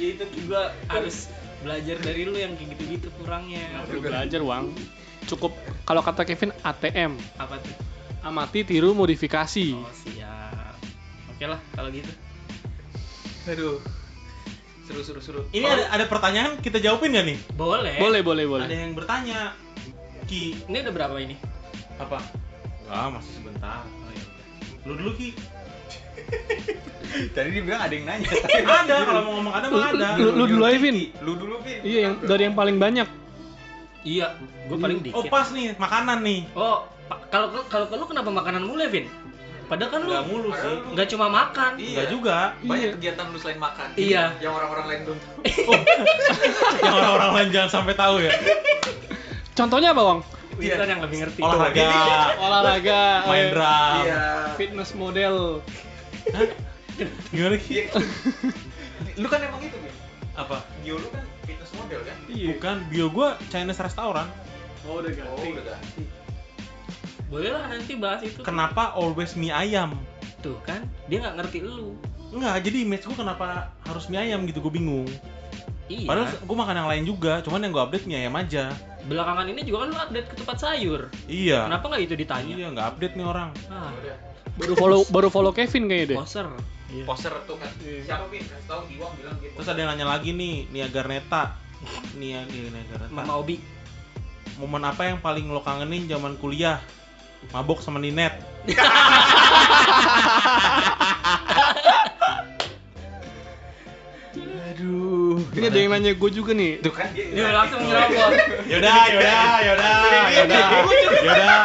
[SPEAKER 1] Ya itu gua harus belajar dari lu yang kayak gitu-gitu kurangnya.
[SPEAKER 5] perlu belajar bang cukup kalau kata Kevin ATM
[SPEAKER 1] Apa tuh?
[SPEAKER 5] amati tiru modifikasi
[SPEAKER 1] Oh, siap. Oke lah kalau gitu.
[SPEAKER 4] Aduh. Seru seru seru.
[SPEAKER 2] Ini ada ada pertanyaan kita jawabin nggak nih?
[SPEAKER 1] Boleh.
[SPEAKER 5] boleh boleh boleh
[SPEAKER 2] Ada yang bertanya. Ki,
[SPEAKER 1] Ini udah berapa ini?
[SPEAKER 2] apa? Ah, masih sebentar. Lu dulu Ki.
[SPEAKER 4] Tadi dia bilang ada yang nanya.
[SPEAKER 2] ada kalau mau ngomong ada mah ada.
[SPEAKER 5] lu, lu dulu aja Vin
[SPEAKER 4] Lu dulu, Vin.
[SPEAKER 5] iya yang dari yang paling banyak
[SPEAKER 1] Iya, gua paling
[SPEAKER 2] Oh,
[SPEAKER 1] dikit.
[SPEAKER 2] pas nih, makanan nih.
[SPEAKER 1] Oh, pa- kalau kalau kalau lu kenapa makanan mulai, Vin? Padahal kan lu
[SPEAKER 2] Enggak mulu sih.
[SPEAKER 1] nggak cuma makan.
[SPEAKER 2] Enggak juga.
[SPEAKER 5] Iya.
[SPEAKER 4] Banyak kegiatan lu selain makan.
[SPEAKER 1] Iya.
[SPEAKER 4] Yang orang-orang lain belum tahu.
[SPEAKER 2] Iya. Oh. Yang orang-orang lain jangan sampai tahu ya.
[SPEAKER 5] contohnya apa bang
[SPEAKER 1] Witan kan yang lebih ngerti.
[SPEAKER 2] Olahraga,
[SPEAKER 5] olahraga
[SPEAKER 2] main
[SPEAKER 5] eh,
[SPEAKER 2] drum.
[SPEAKER 4] Iya.
[SPEAKER 5] fitness model
[SPEAKER 2] Gimana Ki?
[SPEAKER 4] Iya. Lu kan emang itu, Vin.
[SPEAKER 2] Apa?
[SPEAKER 4] Bio lu kan fitness model kan?
[SPEAKER 2] Bukan bio gua Chinese restaurant.
[SPEAKER 5] oh udah
[SPEAKER 3] Iya.
[SPEAKER 4] Oh, udah ganti.
[SPEAKER 1] Boleh lah nanti bahas itu.
[SPEAKER 2] Kenapa always mie ayam?
[SPEAKER 1] Tuh kan, dia nggak ngerti lu.
[SPEAKER 2] Enggak, jadi image gua kenapa harus mie ayam gitu, gua bingung.
[SPEAKER 1] Iya.
[SPEAKER 2] Padahal gua makan yang lain juga, cuman yang gua update mie ayam aja.
[SPEAKER 1] belakangan ini juga kan lu update ketupat sayur.
[SPEAKER 2] Iya.
[SPEAKER 1] Kenapa nggak itu ditanya?
[SPEAKER 2] Iya, nggak update nih orang.
[SPEAKER 1] Ah,
[SPEAKER 4] Udah.
[SPEAKER 5] baru follow baru follow Kevin kayaknya deh
[SPEAKER 1] poser.
[SPEAKER 4] Poster tuh kan.
[SPEAKER 5] Iya.
[SPEAKER 4] Siapa, Vin? Kasih tahu Iwang bilang gitu.
[SPEAKER 2] Terus ada yang nanya lagi nih, Niagar Neta. Nia Niagar Neta.
[SPEAKER 1] Mama Obi.
[SPEAKER 2] Momen apa yang paling lo kangenin zaman kuliah? Mabok sama Ninet. Aduh.
[SPEAKER 5] ini ada yang nanya gue juga nih
[SPEAKER 4] Tuh kan dia.
[SPEAKER 1] Dia langsung nyerobot.
[SPEAKER 2] Yaudah, yaudah, yaudah, yaudah,
[SPEAKER 5] gitu.
[SPEAKER 2] yaudah.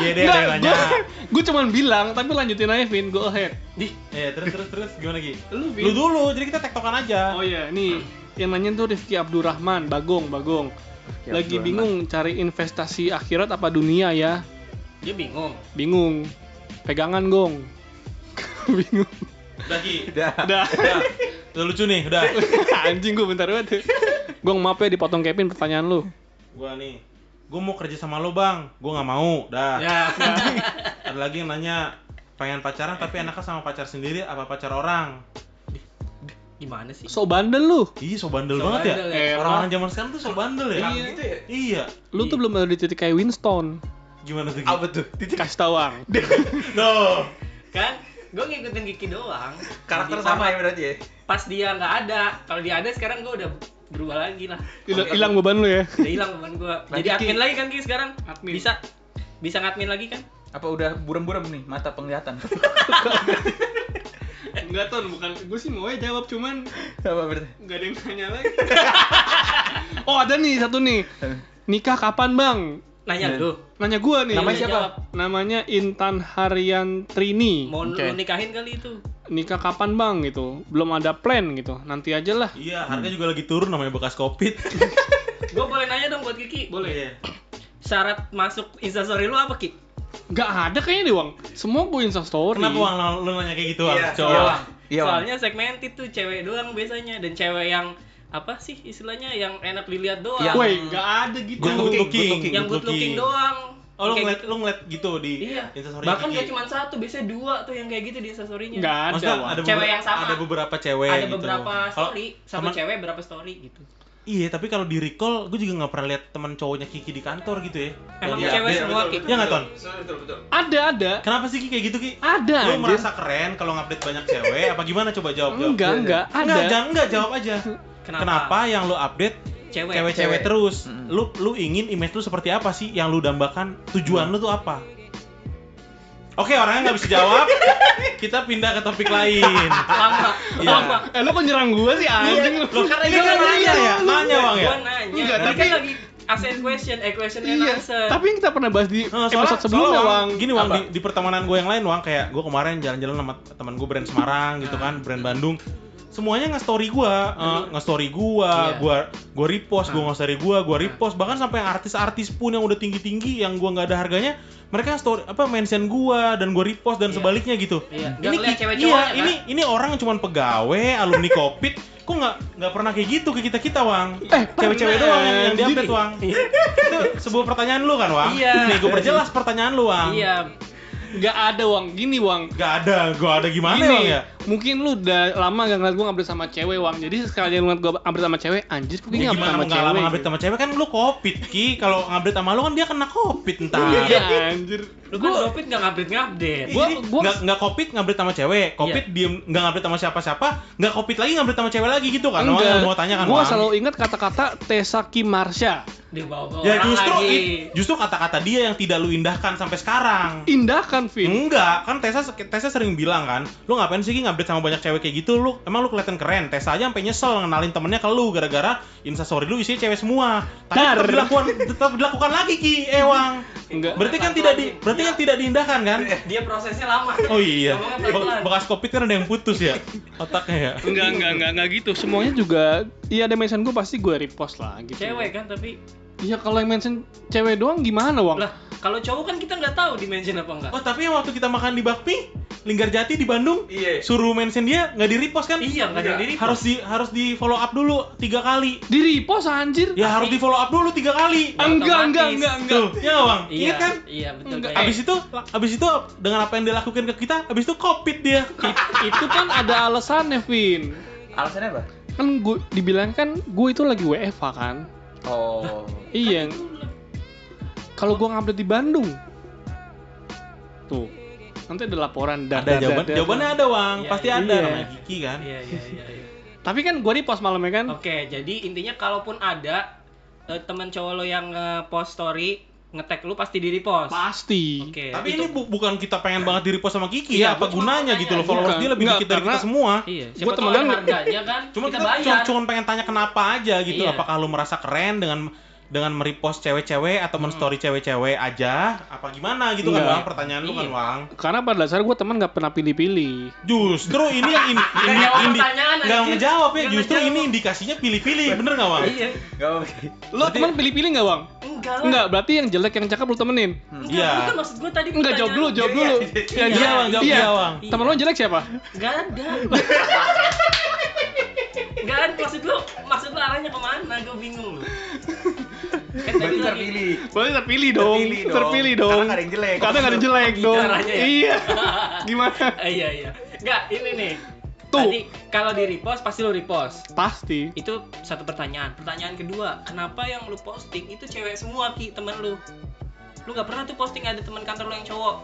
[SPEAKER 2] Iya deh, ada yang nanya.
[SPEAKER 5] gue cuman bilang tapi lanjutin aja Vin go ahead
[SPEAKER 1] Di,
[SPEAKER 2] Eh, terus terus terus gimana Ki?
[SPEAKER 5] lu
[SPEAKER 2] Lu dulu, jadi kita tektokan aja.
[SPEAKER 5] oh iya nih yang nanya tuh Rifki Abdurrahman Bagong Bagong lagi bingung cari investasi akhirat apa dunia ya
[SPEAKER 1] dia bingung.
[SPEAKER 5] bingung pegangan gong bingung
[SPEAKER 2] Udah Ki,
[SPEAKER 5] udah
[SPEAKER 2] udah. Udah lucu nih, udah.
[SPEAKER 5] anjing gue bentar banget gong maaf ya dipotong Kevin pertanyaan lu
[SPEAKER 2] Gua nih, gua mau kerja sama lo bang, gua nggak mau,
[SPEAKER 4] Ah.
[SPEAKER 2] dah.
[SPEAKER 1] Ya.
[SPEAKER 2] Ada lagi yang nanya, pengen pacaran tapi enaknya sama pacar sendiri apa pacar orang?
[SPEAKER 1] Gimana sih?
[SPEAKER 5] so bandel lu
[SPEAKER 2] Ih, so bandel
[SPEAKER 1] So
[SPEAKER 2] banget
[SPEAKER 1] bandel
[SPEAKER 2] ya.
[SPEAKER 5] ya.
[SPEAKER 2] Orang-orang zaman sekarang tuh so bandel ya.
[SPEAKER 4] Iya. Gitu ya.
[SPEAKER 2] Iya.
[SPEAKER 5] lu tuh belum ada di titik kayak Winston
[SPEAKER 2] Gimana tuh? Ki?
[SPEAKER 4] Apa tuh? Titik
[SPEAKER 5] kasih tawang
[SPEAKER 2] No.
[SPEAKER 1] Kan gue ngikutin Kiki doang.
[SPEAKER 4] karakter
[SPEAKER 1] Jadi
[SPEAKER 4] sama ya berarti ya.
[SPEAKER 1] Pas dia nggak ada. Kalau dia ada sekarang gue udah berubah lagi lah.
[SPEAKER 5] Hil- hilang beban lu ya
[SPEAKER 1] Udah hilang teman gue. Jadi
[SPEAKER 4] Lanjut, Ki.
[SPEAKER 1] admin lagi kan Ki sekarang?
[SPEAKER 5] Admin.
[SPEAKER 1] Bisa bisa ngadmin lagi kan?
[SPEAKER 4] Apa udah buram-buram nih mata penglihatan?
[SPEAKER 5] enggak ton bukan gue sih mau aja jawab cuman
[SPEAKER 4] Apa berarti?
[SPEAKER 5] Gak ada yang nanya lagi. oh ada nih satu nih. Nikah kapan bang?
[SPEAKER 1] Nanya lu.
[SPEAKER 5] Nanya gua nih.
[SPEAKER 4] Iya. Namanya siapa?
[SPEAKER 1] jawab.
[SPEAKER 5] Namanya Intan Harian Trini.
[SPEAKER 1] Mau
[SPEAKER 4] Oke.
[SPEAKER 1] lu nikahin kali itu.
[SPEAKER 5] Nikah kapan bang gitu? Belum ada plan gitu. Nanti aja lah.
[SPEAKER 2] Iya, harga juga lagi turun namanya bekas Covid. Iya.
[SPEAKER 1] Gue boleh nanya dong buat Kiki.
[SPEAKER 2] Boleh.
[SPEAKER 1] Syarat masuk instastory lu apa Ki?
[SPEAKER 5] Gak ada kayaknya deh bang. Semua gue instastory.
[SPEAKER 2] Kenapa Wang lu- lu nanya kayak gitu, Wang?
[SPEAKER 4] Iya,
[SPEAKER 2] Coba.
[SPEAKER 4] iya, Wang. Iya, Wang.
[SPEAKER 1] Soalnya segmented tuh cewek doang biasanya dan cewek yang apa sih istilahnya yang enak dilihat doang.
[SPEAKER 4] Yang-
[SPEAKER 5] Woi, gak ada gitu.
[SPEAKER 2] Good looking,
[SPEAKER 4] looking,
[SPEAKER 1] yang good looking doang.
[SPEAKER 2] Oh, lu
[SPEAKER 1] Kayak
[SPEAKER 2] ngeliat,
[SPEAKER 1] gitu.
[SPEAKER 2] lu ngeliat gitu di
[SPEAKER 1] Iya.
[SPEAKER 2] instastory
[SPEAKER 1] Bahkan
[SPEAKER 2] Kiki.
[SPEAKER 1] gak cuma satu, biasanya dua tuh yang kayak gitu di instastorynya.
[SPEAKER 5] Gak ada.
[SPEAKER 2] Maksudnya
[SPEAKER 5] Wang.
[SPEAKER 2] ada
[SPEAKER 1] Cewek
[SPEAKER 2] beberapa-
[SPEAKER 1] yang sama.
[SPEAKER 2] Ada beberapa cewek
[SPEAKER 1] Ada
[SPEAKER 2] gitu.
[SPEAKER 1] beberapa
[SPEAKER 2] Kalau-
[SPEAKER 1] story, sama
[SPEAKER 2] teman-
[SPEAKER 1] cewek berapa story gitu.
[SPEAKER 2] Iya, tapi kalau di recall, gue juga nggak pernah lihat teman cowoknya Kiki di kantor gitu ya.
[SPEAKER 1] Emang
[SPEAKER 2] Iya.
[SPEAKER 1] cewek semua
[SPEAKER 4] gitu.
[SPEAKER 1] Ki.
[SPEAKER 2] Iya nggak, Ton?
[SPEAKER 4] Betul, betul.
[SPEAKER 5] Ada ada.
[SPEAKER 2] Kenapa sih Ki kayak gitu Ki?
[SPEAKER 5] Ada.
[SPEAKER 2] Lu
[SPEAKER 5] anjir.
[SPEAKER 2] merasa keren kalau ngupdate banyak cewek? apa gimana? Coba jawab jawab.
[SPEAKER 5] Enggak
[SPEAKER 4] Iya,
[SPEAKER 5] enggak ada.
[SPEAKER 2] Enggak, jangan enggak jawab aja. Kenapa?
[SPEAKER 1] Kenapa?
[SPEAKER 2] yang lu update
[SPEAKER 1] Cewek.
[SPEAKER 2] cewek-cewek
[SPEAKER 4] Cewek.
[SPEAKER 2] terus?
[SPEAKER 4] Mm-mm.
[SPEAKER 2] Lu lu ingin image lu seperti apa sih? Yang lu dambakan tujuan lu tuh apa? Oke, orangnya nggak bisa jawab. Kita pindah ke topik lain.
[SPEAKER 1] lama
[SPEAKER 2] Iya.
[SPEAKER 1] lama
[SPEAKER 5] Eh lu kok nyerang gua sih anjing lu.
[SPEAKER 2] Loh, karena dia kan Iya. nanya
[SPEAKER 5] gitu.
[SPEAKER 2] ya, nanya bang ya.
[SPEAKER 1] Gua nanya
[SPEAKER 5] Enggak,
[SPEAKER 1] Tadi
[SPEAKER 5] tapi-
[SPEAKER 1] kan lagi ask and question eh question and
[SPEAKER 5] Iya,
[SPEAKER 1] answer
[SPEAKER 5] tapi yang kita pernah bahas di
[SPEAKER 2] Nah,
[SPEAKER 5] episode sebelumnya,
[SPEAKER 2] soalnya,
[SPEAKER 5] Wang.
[SPEAKER 2] Gini Wang,
[SPEAKER 1] Apa?
[SPEAKER 2] di, di pertemanan gue yang lain Wang Kayak gue kemarin jalan-jalan sama teman gue brand Semarang gitu kan Brand Bandung Semuanya nge-story gue Nge-story gue,
[SPEAKER 1] Iya.
[SPEAKER 2] gue gue repost, gue
[SPEAKER 1] Ah.
[SPEAKER 2] nge-story gue, gue repost Bahkan sampai artis-artis pun yang udah tinggi-tinggi Yang gue nggak ada harganya Mereka story, apa mention gue dan gue repost dan
[SPEAKER 1] Iya.
[SPEAKER 2] sebaliknya gitu
[SPEAKER 1] Iya, nggak ngeliat
[SPEAKER 2] ki-
[SPEAKER 1] cewek
[SPEAKER 2] iya,
[SPEAKER 1] cowoknya,
[SPEAKER 2] ini, ini orang cuma pegawai, alumni Covid Kok nggak nggak pernah kayak gitu ke kita-kita Wang
[SPEAKER 5] Eh,
[SPEAKER 2] Cewek-cewek doang yang, yang di-update
[SPEAKER 5] Jadi-
[SPEAKER 2] Wang
[SPEAKER 1] Iya.
[SPEAKER 2] itu sebuah pertanyaan lu kan, Wang?
[SPEAKER 1] Iya.
[SPEAKER 2] Nih, gue perjelas pertanyaan lu, Wang.
[SPEAKER 1] iya
[SPEAKER 5] Gak ada, Wang. Gini, Wang.
[SPEAKER 2] Gak ada, gue ada gimana,
[SPEAKER 5] Gini,
[SPEAKER 2] Wang ya?
[SPEAKER 5] mungkin lu udah lama gak ngeliat gua update sama cewek, Wang. Jadi sekali lu ngeliat gua update sama cewek, anjir kok
[SPEAKER 2] Ya
[SPEAKER 5] gini update
[SPEAKER 2] gimana
[SPEAKER 5] sama
[SPEAKER 2] mau nggak lama
[SPEAKER 5] cewek.
[SPEAKER 2] ngupdate sama cewek kan lu covid ki kalau ngupdate sama lu kan dia kena covid entar
[SPEAKER 5] Iya, anjir.
[SPEAKER 1] lu kan Robin nggak ngupdate ngupdate
[SPEAKER 2] gua,
[SPEAKER 5] Gua- Iya. gua-
[SPEAKER 2] nggak nggak covid ngupdate sama cewek covid diem nggak ngupdate sama siapa siapa nggak covid lagi ngupdate sama cewek lagi gitu kan Wang yang mau tanya kan
[SPEAKER 5] gua
[SPEAKER 2] Wang?
[SPEAKER 5] selalu ingat kata-kata Tesaki Marsha.
[SPEAKER 1] di bawah
[SPEAKER 2] ya
[SPEAKER 1] orang
[SPEAKER 2] justru
[SPEAKER 1] lagi
[SPEAKER 2] i- justru kata-kata dia yang tidak lu indahkan sampai sekarang
[SPEAKER 5] Indah kan, Vin?
[SPEAKER 2] Enggak, kan Tessa Tessa sering bilang kan, lu ngapain sih Ki, ngupdate sama banyak cewek kayak gitu? Lu emang lu kelihatan keren. Tessa aja sampai nyesel ngenalin temennya ke lu gara-gara instastory lu isinya cewek semua. Tapi
[SPEAKER 5] Dar.
[SPEAKER 2] tetap dilakukan tetap dilakukan lagi Ki, Ewang.
[SPEAKER 5] Enggak. Eh.
[SPEAKER 2] Berarti kan tidak di berarti kan tidak diindahkan kan?
[SPEAKER 1] dia prosesnya lama
[SPEAKER 2] Oh iya.
[SPEAKER 1] Ngomongnya
[SPEAKER 2] Be-
[SPEAKER 1] pelan-pelan.
[SPEAKER 2] Bekas Covid kan ada yang putus ya otaknya ya.
[SPEAKER 5] Enggak, enggak, enggak, enggak gitu. Semuanya juga iya ada mention gua pasti gua repost lah gitu.
[SPEAKER 1] cewek kan tapi
[SPEAKER 5] Iya, kalau yang mention cewek doang gimana, Wang?
[SPEAKER 1] lah kalau cowok kan kita nggak tahu dimension apa enggak
[SPEAKER 2] Oh, tapi yang waktu kita makan di Bakpi, Linggarjati di Bandung,
[SPEAKER 3] Iya.
[SPEAKER 2] suruh mention dia nggak di-repost kan?
[SPEAKER 1] iya nggak ada
[SPEAKER 3] Enggak.
[SPEAKER 1] diri
[SPEAKER 2] Harus di harus di follow up dulu tiga kali.
[SPEAKER 5] Di repost anjir.
[SPEAKER 2] Ya harus di follow up dulu tiga kali.
[SPEAKER 5] Enggak,
[SPEAKER 1] Otomatis.
[SPEAKER 5] enggak, enggak, enggak.
[SPEAKER 2] Tuh, ya Bang.
[SPEAKER 1] iya
[SPEAKER 2] Ingat kan?
[SPEAKER 1] iya betul
[SPEAKER 5] Enggak.
[SPEAKER 1] kayak-
[SPEAKER 2] Abis itu, abis itu dengan apa yang dia lakukan ke kita, abis itu covid dia.
[SPEAKER 5] Itu kan ada alasannya, Vin.
[SPEAKER 4] Alasannya apa?
[SPEAKER 5] Kan gue dibilang kan gue itu lagi WFH kan.
[SPEAKER 4] Oh.
[SPEAKER 5] Iya. Kalau gue ngupdate di Bandung. Tuh. Nanti ada laporan dar,
[SPEAKER 2] ada
[SPEAKER 5] dar,
[SPEAKER 2] jawaban,
[SPEAKER 5] dar, dar.
[SPEAKER 2] jawabannya ada Bang,
[SPEAKER 1] Iya,
[SPEAKER 2] pasti
[SPEAKER 5] iya.
[SPEAKER 2] ada
[SPEAKER 5] Iya.
[SPEAKER 2] namanya Kiki kan.
[SPEAKER 1] iya iya iya iya.
[SPEAKER 5] Tapi kan gue repost malamnya kan.
[SPEAKER 1] Oke, jadi intinya kalaupun ada eh, teman cowok lo yang nge-post story, nge-tag lu pasti di repost.
[SPEAKER 5] Pasti.
[SPEAKER 1] Oke.
[SPEAKER 2] Tapi
[SPEAKER 1] iya. itu-
[SPEAKER 2] ini bu- bukan kita pengen banget di repost sama Kiki ya,
[SPEAKER 5] Iya,
[SPEAKER 2] apa
[SPEAKER 1] gua cuma
[SPEAKER 2] gunanya
[SPEAKER 1] mau
[SPEAKER 2] gitu
[SPEAKER 1] nanya.
[SPEAKER 2] loh followers
[SPEAKER 5] Bukan,
[SPEAKER 2] dia lebih
[SPEAKER 5] enggak,
[SPEAKER 2] dikit dari kita
[SPEAKER 5] karena-
[SPEAKER 2] semua.
[SPEAKER 1] iya,
[SPEAKER 5] Gua
[SPEAKER 1] siapa tahu
[SPEAKER 5] temenan-
[SPEAKER 1] ada harganya kan?
[SPEAKER 2] Cuma
[SPEAKER 1] kita,
[SPEAKER 2] kita,
[SPEAKER 1] bayar.
[SPEAKER 2] cuma pengen tanya kenapa aja gitu,
[SPEAKER 1] Iya.
[SPEAKER 2] apa kalau merasa keren dengan dengan merepost cewek-cewek atau
[SPEAKER 1] Hmm.
[SPEAKER 2] men-story cewek-cewek aja, apa gimana gitu
[SPEAKER 5] Enggak.
[SPEAKER 2] kan Wang? Pertanyaan lu kan
[SPEAKER 1] Iya.
[SPEAKER 2] Wang.
[SPEAKER 5] Karena pada dasarnya gue teman gak pernah pilih-pilih.
[SPEAKER 2] Justru ini yang ini, ini,
[SPEAKER 1] jawab
[SPEAKER 2] ini
[SPEAKER 1] pertanyaan,
[SPEAKER 2] nggak
[SPEAKER 1] anjing.
[SPEAKER 2] ngejawab ya,
[SPEAKER 1] Nggak
[SPEAKER 2] justru
[SPEAKER 1] ngejawab.
[SPEAKER 2] ini indikasinya pilih-pilih, bener nggak Wang?
[SPEAKER 1] Iya.
[SPEAKER 4] Gak apa-apa.
[SPEAKER 5] Lo teman pilih-pilih nggak bang?
[SPEAKER 1] Enggak lah.
[SPEAKER 5] Enggak, berarti yang jelek yang cakep lu temenin.
[SPEAKER 1] Enggak,
[SPEAKER 2] Iya.
[SPEAKER 1] bukan maksud gue tadi
[SPEAKER 5] Enggak jawab dulu, jawab dulu.
[SPEAKER 2] Iya, iya, Bang, jawab iya, Bang.
[SPEAKER 5] Temen lo jelek siapa?
[SPEAKER 1] Enggak ada. Enggak ada maksud lu, maksud lu arahnya kemana? Gue bingung lu. Kan
[SPEAKER 4] Berarti
[SPEAKER 1] tadi lagi-
[SPEAKER 4] terpilih.
[SPEAKER 5] Boleh terpilih dong.
[SPEAKER 4] Terpilih dong.
[SPEAKER 5] Terpilih
[SPEAKER 4] Karena
[SPEAKER 5] dong.
[SPEAKER 4] nggak ada yang jelek.
[SPEAKER 5] Karena nggak ada yang jelek
[SPEAKER 1] Gitu
[SPEAKER 5] dong.
[SPEAKER 1] arahnya ya?
[SPEAKER 5] Iya. Gimana?
[SPEAKER 1] Ah, iya iya. Enggak, ini nih.
[SPEAKER 5] Tuh.
[SPEAKER 1] Tadi kalau di repost pasti lu repost.
[SPEAKER 5] Pasti.
[SPEAKER 1] itu satu pertanyaan pertanyaan kedua kenapa yang lu posting itu cewek semua ki temen lu lu nggak pernah tuh posting ada teman kantor lu yang cowok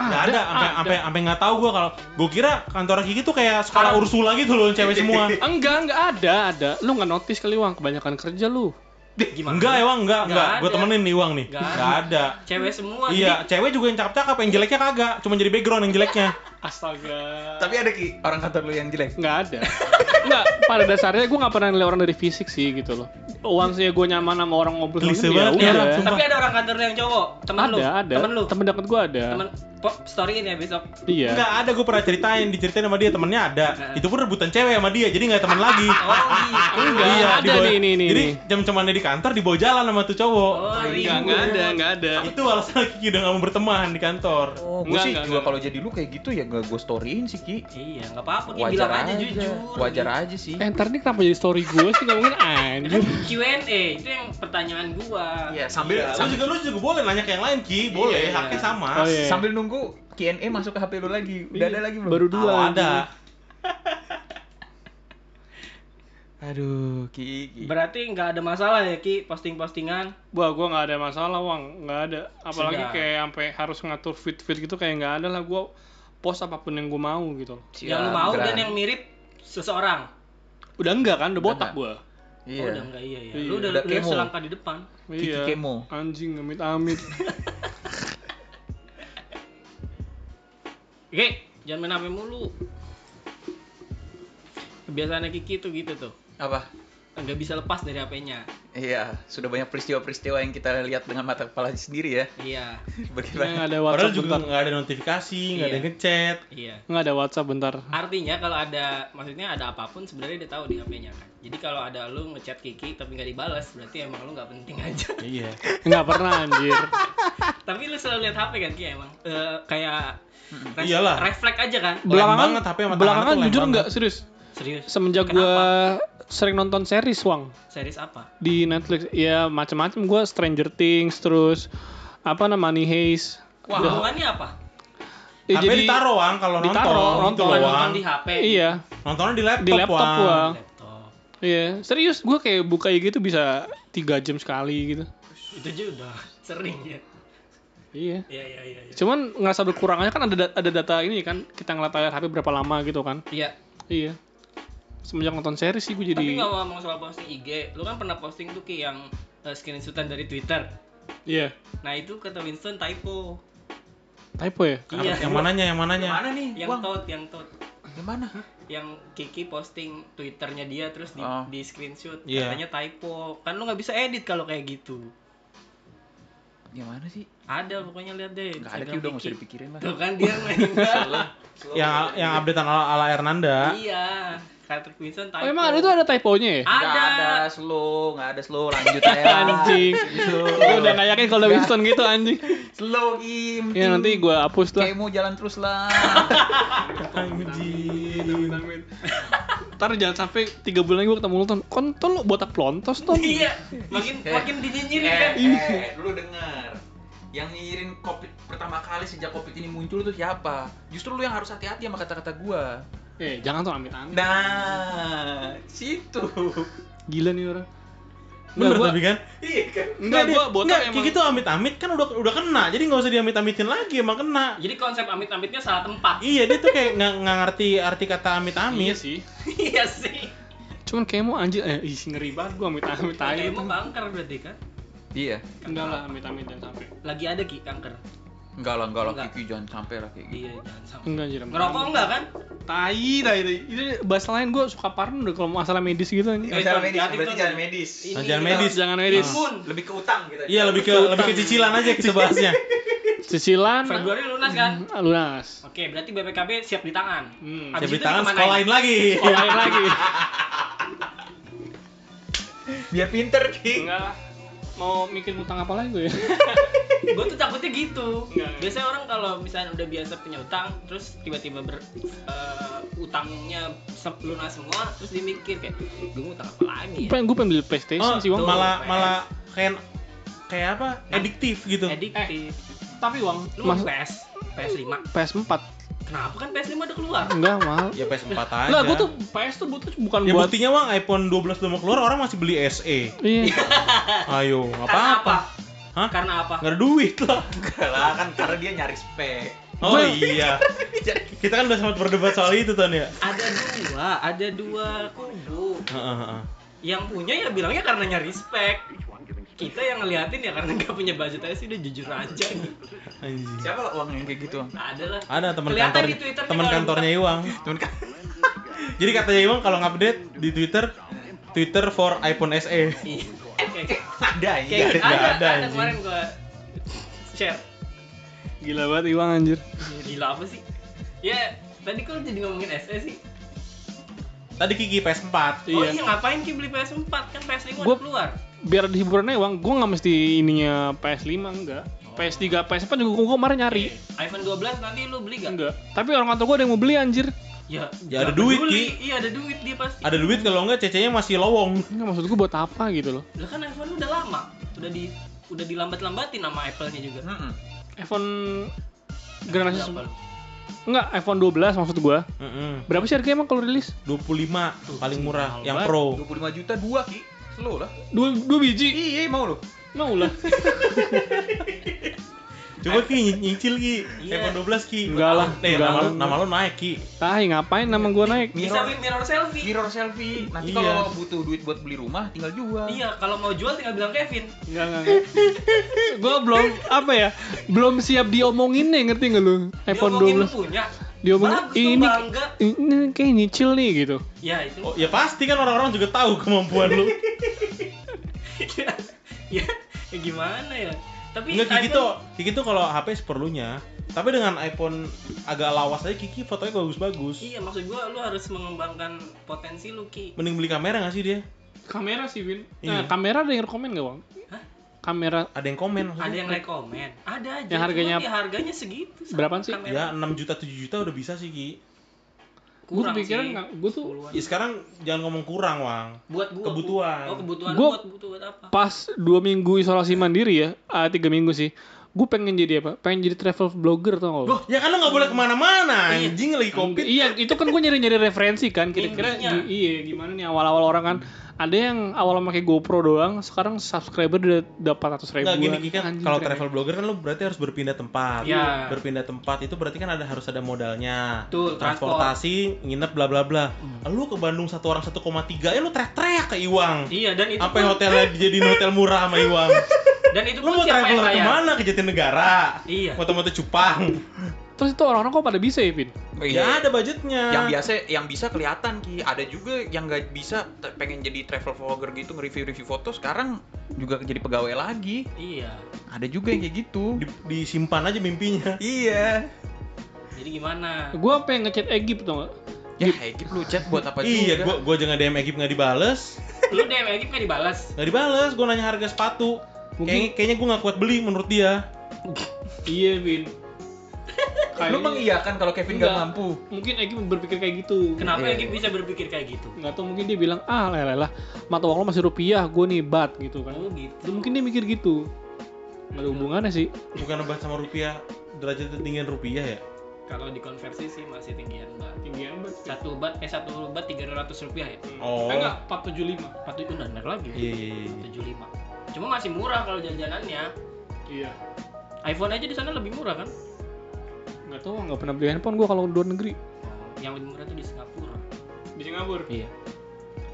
[SPEAKER 2] Nggak ada, sampai sampai sampai nggak tahu gua kalau gua kira kantor Kiki tuh kayak sekolah
[SPEAKER 1] Sekarang.
[SPEAKER 2] Ursula gitu loh cewek semua.
[SPEAKER 5] Enggak, enggak ada, ada. Lu nggak notice kali Wang, kebanyakan kerja lu.
[SPEAKER 1] gimana
[SPEAKER 2] Enggak, Ewang, enggak, enggak.
[SPEAKER 1] Nggak
[SPEAKER 2] Gua
[SPEAKER 1] ada.
[SPEAKER 2] temenin nih Iwang nih.
[SPEAKER 1] Nggak
[SPEAKER 2] Enggak ada.
[SPEAKER 1] cewek semua
[SPEAKER 2] Iya, cewek juga yang cakep-cakep, yang jeleknya kagak. Cuma jadi background yang jeleknya.
[SPEAKER 5] Astaga.
[SPEAKER 4] Tapi ada ki orang kantor lu yang jelek.
[SPEAKER 5] Nggak ada. Nggak, pada dasarnya gue nggak pernah nilai orang dari fisik sih gitu loh. Uang sih gue nyaman sama orang ngobrol sama
[SPEAKER 2] Klise
[SPEAKER 5] dia,
[SPEAKER 2] banget ya, Bang,
[SPEAKER 5] udah.
[SPEAKER 1] jadi,
[SPEAKER 2] sumpah.
[SPEAKER 1] Iya, tapi ada orang kantor lu yang cowok temen lu
[SPEAKER 5] Ada, ada.
[SPEAKER 1] temen lu
[SPEAKER 5] Temen deket gue ada.
[SPEAKER 1] temen pop storyin ya besok
[SPEAKER 5] Iya.
[SPEAKER 2] Enggak ada, gua pernah ceritain, diceritain sama dia temennya ada.
[SPEAKER 1] Nggak.
[SPEAKER 2] Itu pun rebutan cewek sama dia, jadi nggak temen lagi.
[SPEAKER 1] oh gitu
[SPEAKER 5] Enggak, ada
[SPEAKER 2] dibawa-
[SPEAKER 5] nih, nih, nih,
[SPEAKER 2] Jadi
[SPEAKER 5] nih.
[SPEAKER 2] jam-jamannya di kantor dibawa jalan sama tuh cowok.
[SPEAKER 1] oh
[SPEAKER 5] Enggak,
[SPEAKER 1] ribut.
[SPEAKER 5] enggak Iya, ada, enggak ada.
[SPEAKER 2] Itu alasan Kiki udah nggak mau berteman di kantor.
[SPEAKER 4] Oh, gue
[SPEAKER 5] Nggak,
[SPEAKER 4] sih
[SPEAKER 5] nggak,
[SPEAKER 4] juga
[SPEAKER 5] nggak.
[SPEAKER 4] kalau jadi lu kayak gitu ya gak gue storyin sih ki.
[SPEAKER 1] iya nggak apa-apa Ki. bilang
[SPEAKER 4] Wajar aja,
[SPEAKER 1] aja, jujur
[SPEAKER 4] wajar aja sih.
[SPEAKER 5] Eh, ntar nih kenapa jadi story gue sih ngomongin anjir.
[SPEAKER 1] Q&A itu yang pertanyaan gua
[SPEAKER 4] Iya sambil
[SPEAKER 2] Sambil, lu
[SPEAKER 4] sambil,
[SPEAKER 2] juga lu juga boleh nanya ke yang lain Ki,
[SPEAKER 1] Iya.
[SPEAKER 2] boleh, haknya sama.
[SPEAKER 5] Oh, iya.
[SPEAKER 4] sambil nunggu Q&A masuk ke HP lu lagi. Udah ada lagi belum?
[SPEAKER 5] Baru dua.
[SPEAKER 2] Kalau ada.
[SPEAKER 4] Aduh ki. ki.
[SPEAKER 1] berarti nggak ada masalah ya ki posting-postingan
[SPEAKER 5] Wah, gue nggak ada masalah, Wang. Nggak ada. Apalagi
[SPEAKER 1] Sudah.
[SPEAKER 5] kayak sampai harus ngatur fit-fit gitu kayak nggak ada lah. Gue post apapun yang gue mau gitu. loh.
[SPEAKER 1] yang lu
[SPEAKER 4] Siap,
[SPEAKER 1] mau
[SPEAKER 4] gerak.
[SPEAKER 1] dan yang mirip seseorang
[SPEAKER 5] Udah enggak kan,
[SPEAKER 4] Udah
[SPEAKER 5] udah botak
[SPEAKER 4] nggak.
[SPEAKER 5] gue.
[SPEAKER 1] Oh, udah
[SPEAKER 4] Iya.
[SPEAKER 1] enggak iya ya.
[SPEAKER 5] Iya.
[SPEAKER 1] Lu udah,
[SPEAKER 4] Udah
[SPEAKER 1] lu
[SPEAKER 4] kemo.
[SPEAKER 1] selangkah di depan.
[SPEAKER 4] Kiki kemo.
[SPEAKER 5] Anjing, amit-amit.
[SPEAKER 1] Oke, jangan main HP mulu. Kebiasaannya Kiki tuh gitu tuh.
[SPEAKER 4] Apa?
[SPEAKER 1] Nggak bisa lepas dari HP-nya.
[SPEAKER 4] Iya, sudah banyak peristiwa-peristiwa yang kita lihat dengan mata kepala sendiri ya.
[SPEAKER 1] Iya,
[SPEAKER 5] Yang
[SPEAKER 4] Bagaimana?
[SPEAKER 5] ada
[SPEAKER 2] Padahal
[SPEAKER 5] WhatsApp
[SPEAKER 2] juga
[SPEAKER 5] bentar.
[SPEAKER 2] nggak ada notifikasi, nggak ada
[SPEAKER 1] Iya.
[SPEAKER 2] ngechat.
[SPEAKER 1] iya.
[SPEAKER 5] Nggak ada WhatsApp bentar.
[SPEAKER 1] Artinya kalau ada, maksudnya ada apapun sebenarnya dia tahu di HP-nya kan. Jadi kalau ada lu ngechat Kiki tapi nggak dibales, berarti emang lu nggak penting aja.
[SPEAKER 2] Iya.
[SPEAKER 5] Nggak pernah anjir.
[SPEAKER 1] tapi lu selalu lihat HP kan Ki emang. Eh, kayak res-
[SPEAKER 2] Iyalah.
[SPEAKER 1] refleks aja kan.
[SPEAKER 5] Belakangan
[SPEAKER 2] banget HP sama tangan
[SPEAKER 5] belakangan
[SPEAKER 2] tuh lem
[SPEAKER 5] jujur
[SPEAKER 2] banget.
[SPEAKER 5] nggak serius.
[SPEAKER 1] Serius.
[SPEAKER 5] Semenjak gua sering nonton series Wang
[SPEAKER 1] Serius apa?
[SPEAKER 5] di Netflix, ya macam-macam gua Stranger Things terus apa nama Money Heist.
[SPEAKER 1] Wah,
[SPEAKER 5] Ya,
[SPEAKER 1] hubungannya apa?
[SPEAKER 5] ya
[SPEAKER 2] HP ditaruh, Wang, kalau nonton.
[SPEAKER 5] Ditaruh,
[SPEAKER 2] gitu
[SPEAKER 5] nonton.
[SPEAKER 2] loh, Wang.
[SPEAKER 1] Nonton di HP.
[SPEAKER 5] Iya,
[SPEAKER 2] Nontonnya di laptop,
[SPEAKER 5] di laptop
[SPEAKER 2] Wang.
[SPEAKER 5] gua.
[SPEAKER 1] Laptop.
[SPEAKER 5] Iya, serius gua kayak buka IG tuh bisa tiga jam sekali gitu.
[SPEAKER 1] Itu aja udah sering ya.
[SPEAKER 5] Iya.
[SPEAKER 1] Iya, iya, iya. iya.
[SPEAKER 5] Cuman ngerasa berkurangnya kan ada ada data ini kan kita ngeliat layar HP berapa lama gitu kan.
[SPEAKER 1] Iya,
[SPEAKER 5] Iya. Semenjak nonton series sih
[SPEAKER 1] Tapi
[SPEAKER 5] gue jadi
[SPEAKER 1] nggak ngomong soal posting IG, lu kan pernah posting tuh Ki yang eh, screenshotan dari Twitter.
[SPEAKER 5] iya
[SPEAKER 1] Nah itu kata Winston typo.
[SPEAKER 5] typo ya.
[SPEAKER 2] Apa-
[SPEAKER 1] Iya.
[SPEAKER 2] Yang mananya, yang mananya?
[SPEAKER 4] Gimana nih?
[SPEAKER 1] Yang
[SPEAKER 4] Wang,
[SPEAKER 1] tot, yang tot,
[SPEAKER 4] gimana?
[SPEAKER 1] yang Kiki posting Twitternya dia terus di,
[SPEAKER 4] Oh.
[SPEAKER 1] di screenshot
[SPEAKER 2] Iya.
[SPEAKER 1] katanya typo. Kan lu nggak bisa edit kalau kayak gitu.
[SPEAKER 4] Gimana sih?
[SPEAKER 1] Ada pokoknya lihat deh.
[SPEAKER 4] Gak ada
[SPEAKER 1] Instagram
[SPEAKER 4] Ki, udah gak
[SPEAKER 1] Kiki.
[SPEAKER 4] usah dipikirin lah.
[SPEAKER 1] Tuh kan dia main.
[SPEAKER 2] Yang yang updatean ala, ala Hernanda.
[SPEAKER 1] iya, kata Winston typo.
[SPEAKER 5] Oh emang ada itu ada typonya ya?
[SPEAKER 1] Ada.
[SPEAKER 4] Gak ada slow, gak ada slow, lanjut aja.
[SPEAKER 5] Anjing. Gue udah gak yakin kalau Winston gitu anjing.
[SPEAKER 4] Slow Kim.
[SPEAKER 5] Ya nanti gue hapus lah.
[SPEAKER 4] Kayak mau jalan terus lah.
[SPEAKER 5] Iya.
[SPEAKER 2] Anjing.
[SPEAKER 5] Ntar jangan sampai 3 bulan lagi gue ketemu lu Ton. Kontol lu botak plontos Ton.
[SPEAKER 1] Iya, makin makin
[SPEAKER 4] eh,
[SPEAKER 1] dinyinyirin kan.
[SPEAKER 4] eh, lu dengar. Yang nyirin covid pertama kali sejak covid ini muncul tuh siapa? Justru lu yang harus hati-hati sama kata-kata gua.
[SPEAKER 5] Eh jangan Ton amit amit.
[SPEAKER 4] Nah, situ.
[SPEAKER 5] Gila nih orang. Enggak
[SPEAKER 2] Bener
[SPEAKER 5] gua
[SPEAKER 2] tapi kan?
[SPEAKER 4] Iya kan?
[SPEAKER 5] enggak
[SPEAKER 2] dia-
[SPEAKER 5] gua botak
[SPEAKER 2] enggak,
[SPEAKER 5] emang.
[SPEAKER 2] Kayak gitu amit-amit kan udah udah kena, jadi nggak usah diamit-amitin lagi emang kena.
[SPEAKER 1] Jadi konsep amit-amitnya salah tempat.
[SPEAKER 2] Iya dia tuh kayak nggak nggak ngerti arti kata
[SPEAKER 5] Iya
[SPEAKER 2] amit-amit.
[SPEAKER 5] sih.
[SPEAKER 1] iya sih.
[SPEAKER 5] Cuman kayak mau anjir eh ih ngeri banget gue amit amit aja.
[SPEAKER 1] Kayak emang
[SPEAKER 5] Ton.
[SPEAKER 1] kanker berarti kan?
[SPEAKER 4] Iya.
[SPEAKER 5] Enggak lah amit amit jangan sampai.
[SPEAKER 1] Lagi ada ki kanker.
[SPEAKER 4] Enggak lah, enggak lah
[SPEAKER 1] Enggak.
[SPEAKER 4] Kiki jangan sampai lah kayak gitu.
[SPEAKER 1] Iya, jangan sampai.
[SPEAKER 5] Enggak anjir. amit-amit.
[SPEAKER 1] Ngerokok enggak kan?
[SPEAKER 5] Tai tai tai. Itu bahasa lain gue suka parno deh kalau masalah medis gitu anjing. Ah.
[SPEAKER 1] Eh,
[SPEAKER 4] Jangan
[SPEAKER 1] itu
[SPEAKER 4] medis,
[SPEAKER 1] negatif
[SPEAKER 4] Iya, berarti
[SPEAKER 1] tuh.
[SPEAKER 4] jangan medis.
[SPEAKER 1] Ini
[SPEAKER 2] jangan
[SPEAKER 1] kita-
[SPEAKER 2] medis.
[SPEAKER 5] Eh, Jangan medis.
[SPEAKER 1] Imun.
[SPEAKER 4] Lebih ke utang gitu.
[SPEAKER 2] Iya lebih ke lebih ke cicilan aja kita bahasnya.
[SPEAKER 5] Cicilan
[SPEAKER 1] Februari lunas kan?
[SPEAKER 5] ah, lunas.
[SPEAKER 1] Oke, berarti BPKB siap di tangan.
[SPEAKER 5] Hmm.
[SPEAKER 1] Abis
[SPEAKER 2] Siap di
[SPEAKER 1] itu
[SPEAKER 2] tangan
[SPEAKER 1] dikemanain?
[SPEAKER 2] sekolahin lagi. Oh,
[SPEAKER 5] Lain lagi.
[SPEAKER 4] Biar pinter, Ki.
[SPEAKER 5] Enggak lah. Mau mikir utang apa lagi gue ya?
[SPEAKER 1] Gue tuh takutnya gitu.
[SPEAKER 5] Enggak, enggak.
[SPEAKER 1] Biasanya orang kalau misalnya udah biasa punya utang, terus tiba-tiba ber eh, utangnya se- lunas semua, terus dimikir kayak, gue mau utang apa lagi ya?
[SPEAKER 5] pengen gue Iya. pengen beli PlayStation
[SPEAKER 2] Oh,
[SPEAKER 5] sih, Wang.
[SPEAKER 2] malah malah kayak kayak apa? Adiktif gitu.
[SPEAKER 1] Ediktif.
[SPEAKER 5] Tapi Wang,
[SPEAKER 1] Lu mau
[SPEAKER 5] mas
[SPEAKER 1] PS? PS5?
[SPEAKER 5] PS4
[SPEAKER 1] Kenapa kan PS5 udah keluar?
[SPEAKER 5] enggak mahal.
[SPEAKER 2] Ya PS4 aja.
[SPEAKER 5] Lah, gue tuh PS tuh Iya, butuh bukan
[SPEAKER 2] Ya
[SPEAKER 5] buat
[SPEAKER 2] buktinya Wang iPhone 12 belum keluar orang masih beli SE.
[SPEAKER 5] Iya.
[SPEAKER 2] Ayo,
[SPEAKER 1] Karena apa?
[SPEAKER 2] apa-apa. Hah?
[SPEAKER 1] Karena apa?
[SPEAKER 2] Nggak ada duit lah.
[SPEAKER 4] Enggak lah, kan karena dia nyari spek.
[SPEAKER 2] Oh iya. Kita kan udah sempat berdebat soal itu Ton ya.
[SPEAKER 1] Ada dua, ada dua kubu.
[SPEAKER 2] Heeh, heeh.
[SPEAKER 1] yang punya ya bilangnya karena nyari spek kita yang ngeliatin ya karena nggak punya budget aja sih udah jujur aja gitu
[SPEAKER 2] Anjing.
[SPEAKER 4] Siapa lah uang yang kayak gitu? Bang?
[SPEAKER 1] nah, ada lah
[SPEAKER 2] Ada teman
[SPEAKER 1] Kelihatan
[SPEAKER 2] kantor
[SPEAKER 1] di Twitter
[SPEAKER 2] teman
[SPEAKER 1] juga ada
[SPEAKER 2] kantornya Iwang.
[SPEAKER 4] Temen kan.
[SPEAKER 2] Jadi katanya Iwang kalau update di Twitter Twitter for iPhone E. SE.
[SPEAKER 1] Iya. kayak
[SPEAKER 4] Ada ya.
[SPEAKER 1] kayak
[SPEAKER 2] Iya, Nggak ada,
[SPEAKER 1] ada, ada,
[SPEAKER 2] anjing.
[SPEAKER 1] kemarin gua share
[SPEAKER 5] Gila banget Iwang anjir.
[SPEAKER 1] Ya, gila apa sih ya tadi kok jadi ngomongin SE sih
[SPEAKER 2] Tadi Kiki PS4.
[SPEAKER 1] oh
[SPEAKER 5] Iya.
[SPEAKER 1] iya ngapain ki beli PS4 kan PS5 udah
[SPEAKER 5] Gua-
[SPEAKER 1] keluar
[SPEAKER 5] Biar ada hiburannya Wang, gue nggak mesti ininya PS5 enggak. PS3, PS4 juga gue kemarin nyari.
[SPEAKER 1] iPhone 12 nanti lu beli gak?
[SPEAKER 5] Enggak. Tapi orang kantor gue ada yang mau beli anjir.
[SPEAKER 1] Ya,
[SPEAKER 2] Ya, ada
[SPEAKER 1] nggak
[SPEAKER 2] duit,
[SPEAKER 1] peduli. Iya ada duit dia pasti.
[SPEAKER 2] Ada duit kalau enggak cecenya masih lowong.
[SPEAKER 5] Enggak maksud gue buat apa gitu loh.
[SPEAKER 1] Lah kan iPhone lu udah lama, udah di udah dilambat-lambatin sama Apple-nya juga.
[SPEAKER 4] Mm-mm.
[SPEAKER 5] iPhone generasi
[SPEAKER 1] Berapa
[SPEAKER 5] se-
[SPEAKER 1] lu?
[SPEAKER 5] enggak iPhone 12 maksud gue.
[SPEAKER 2] Heeh.
[SPEAKER 5] Berapa sih harganya emang kalau rilis?
[SPEAKER 2] 25 paling murah
[SPEAKER 5] mahal
[SPEAKER 2] yang
[SPEAKER 5] banget.
[SPEAKER 2] pro.
[SPEAKER 4] 25 juta dua Ki. Slow lah.
[SPEAKER 5] Dua, dua biji.
[SPEAKER 4] Iya, mau lu.
[SPEAKER 5] Mau lah.
[SPEAKER 2] Coba Ki ny- nyicil Ki.
[SPEAKER 1] Iya.
[SPEAKER 2] iPhone 12 Ki.
[SPEAKER 5] Eh, Enggak lah,
[SPEAKER 2] Eh,
[SPEAKER 5] enggak
[SPEAKER 2] nama,
[SPEAKER 5] lah.
[SPEAKER 2] lu- nama lu naik Ki.
[SPEAKER 5] Tai ngapain nama gue naik?
[SPEAKER 1] Bisa
[SPEAKER 4] Mirror,
[SPEAKER 1] win mirror selfie.
[SPEAKER 4] mirror selfie. Nanti
[SPEAKER 2] Iya.
[SPEAKER 4] kalau butuh duit buat beli rumah tinggal jual.
[SPEAKER 1] Iya, kalau mau jual tinggal bilang Kevin.
[SPEAKER 5] Enggak, enggak, enggak. gue belum apa ya? Belum siap diomonginnya ngerti nggak lu?
[SPEAKER 1] Dia
[SPEAKER 5] iPhone
[SPEAKER 1] ngomongin lu
[SPEAKER 5] 12.
[SPEAKER 1] punya.
[SPEAKER 5] diomongin
[SPEAKER 1] Bagus tuh,
[SPEAKER 5] ini,
[SPEAKER 1] bangga.
[SPEAKER 5] ini kayak nyicil nih gitu
[SPEAKER 1] ya itu
[SPEAKER 2] Oh, ya pasti kan orang-orang juga tahu kemampuan lu.
[SPEAKER 1] ya, ya, ya gimana ya tapi
[SPEAKER 2] Enggak Kiki
[SPEAKER 1] iPhone-
[SPEAKER 2] tuh, Kiki tuh kalau HP seperlunya. Tapi dengan iPhone agak lawas aja Kiki fotonya bagus-bagus.
[SPEAKER 1] iya maksud gua lu harus mengembangkan potensi lu ki
[SPEAKER 5] Iya.
[SPEAKER 2] Mending beli kamera nggak sih dia?
[SPEAKER 5] kamera sih Win
[SPEAKER 2] Iya.
[SPEAKER 5] nah, kamera ada yang rekomen gak bang
[SPEAKER 1] Hah?
[SPEAKER 5] kamera
[SPEAKER 2] Ada yang komen maksudnya.
[SPEAKER 1] ada yang rekomen ada aja
[SPEAKER 5] Yang harganya-
[SPEAKER 1] cuma ya harganya segitu sama
[SPEAKER 5] Berapaan sih?
[SPEAKER 1] kamera.
[SPEAKER 2] Ya 6 juta 7 juta udah bisa sih Ki.
[SPEAKER 5] gue
[SPEAKER 1] kurang
[SPEAKER 5] kepikiran
[SPEAKER 1] sih
[SPEAKER 5] nggak gue tuh
[SPEAKER 1] 10-an.
[SPEAKER 2] Ya, sekarang jangan ngomong kurang, Wang.
[SPEAKER 1] buat gua
[SPEAKER 2] kebutuhan.
[SPEAKER 1] oh kebutuhan
[SPEAKER 5] Gua-
[SPEAKER 1] buat butuh buat apa
[SPEAKER 5] pas dua minggu isolasi mandiri ya ah, tiga minggu sih gue pengen jadi apa pengen jadi travel blogger tau gak lo?
[SPEAKER 2] Loh, ya kan lo nggak boleh kemana-mana,
[SPEAKER 1] Iya.
[SPEAKER 2] anjing lagi covid.
[SPEAKER 5] Iya, itu kan gue nyari-nyari referensi kan. Kira-kira
[SPEAKER 1] Intinya.
[SPEAKER 5] gi- iya gimana nih awal-awal orang kan. Ada yang awal pakai GoPro doang, sekarang subscriber udah dapat 100 ribu.
[SPEAKER 2] Nggak gini Ki, kan kalau travel blogger kan lo berarti harus berpindah tempat.
[SPEAKER 1] Iya.
[SPEAKER 2] Berpindah tempat itu berarti kan ada harus ada modalnya.
[SPEAKER 1] Betul, transport. Hmm.
[SPEAKER 2] transportasi, nginep bla bla bla. Lu ke Bandung satu orang 1,3 ya lu teriak-teriak ke Iwang.
[SPEAKER 1] iya dan itu
[SPEAKER 2] Sampai
[SPEAKER 1] pun-
[SPEAKER 2] hotelnya dijadiin hotel murah sama Iwang.
[SPEAKER 1] dan itu
[SPEAKER 2] Lu
[SPEAKER 1] pun
[SPEAKER 2] mau
[SPEAKER 1] siapa yang
[SPEAKER 2] traveler
[SPEAKER 1] bayar?
[SPEAKER 2] kemana? Ke Jatinegara?
[SPEAKER 1] Iya.
[SPEAKER 2] Moto-moto cupang?
[SPEAKER 5] Terus itu orang-orang kok pada bisa ya, Vin?
[SPEAKER 2] Ya ada budgetnya.
[SPEAKER 4] Iya. Yang biasa, yang bisa kelihatan ki. Ada juga yang nggak bisa te- pengen jadi travel vlogger gitu nge-review-review foto. Sekarang juga jadi pegawai lagi.
[SPEAKER 1] iya
[SPEAKER 4] Ada juga yang kayak gitu.
[SPEAKER 2] Di- disimpan aja mimpinya.
[SPEAKER 4] Iya.
[SPEAKER 1] jadi gimana
[SPEAKER 5] Gue pengen ngechat Egypt tau gak?
[SPEAKER 4] Ya Egip lu chat buat apa
[SPEAKER 2] iya,
[SPEAKER 4] juga?
[SPEAKER 2] gua gua jangan DM Egip nggak dibales.
[SPEAKER 1] lu DM Egip kan dibalas
[SPEAKER 2] Nggak dibales, gua nanya harga sepatu. Kayaknya, kayaknya gue gak kuat beli menurut dia
[SPEAKER 5] Iya, Vin.
[SPEAKER 4] Lu mengiyakan kalau Kevin nggak
[SPEAKER 5] Enggak.
[SPEAKER 4] mampu.
[SPEAKER 5] Mungkin Egypt berpikir kayak gitu.
[SPEAKER 1] kenapa
[SPEAKER 4] Iya.
[SPEAKER 1] Egip bisa berpikir kayak gitu
[SPEAKER 5] Nggak tau mungkin dia bilang, ah lelah lah, mata uang lo masih rupiah, gue nih bat gitu kan.
[SPEAKER 1] oh gitu
[SPEAKER 5] Itu mungkin dia mikir gitu. Nggak ada hubungannya sih.
[SPEAKER 2] Bukan obat sama rupiah Derajat ketinggian rupiah ya
[SPEAKER 1] kalau dikonversi sih masih tinggian banget
[SPEAKER 5] Tinggian banget.
[SPEAKER 1] satu bat eh satu bat tiga ratus rupiah ya
[SPEAKER 2] Oh.
[SPEAKER 5] Eh, Enggak, 475.
[SPEAKER 1] empat itu benar lagi
[SPEAKER 2] Iya iya iya iya.
[SPEAKER 1] tujuh lima cuma masih murah kalau jajanannya
[SPEAKER 5] Iya.
[SPEAKER 1] iPhone aja di sana lebih murah kan
[SPEAKER 5] Nggak tahu, nggak pernah beli handphone gue kalau luar negeri.
[SPEAKER 1] Oh, yang lebih murah itu di Singapura
[SPEAKER 5] Di Singapura.
[SPEAKER 1] iya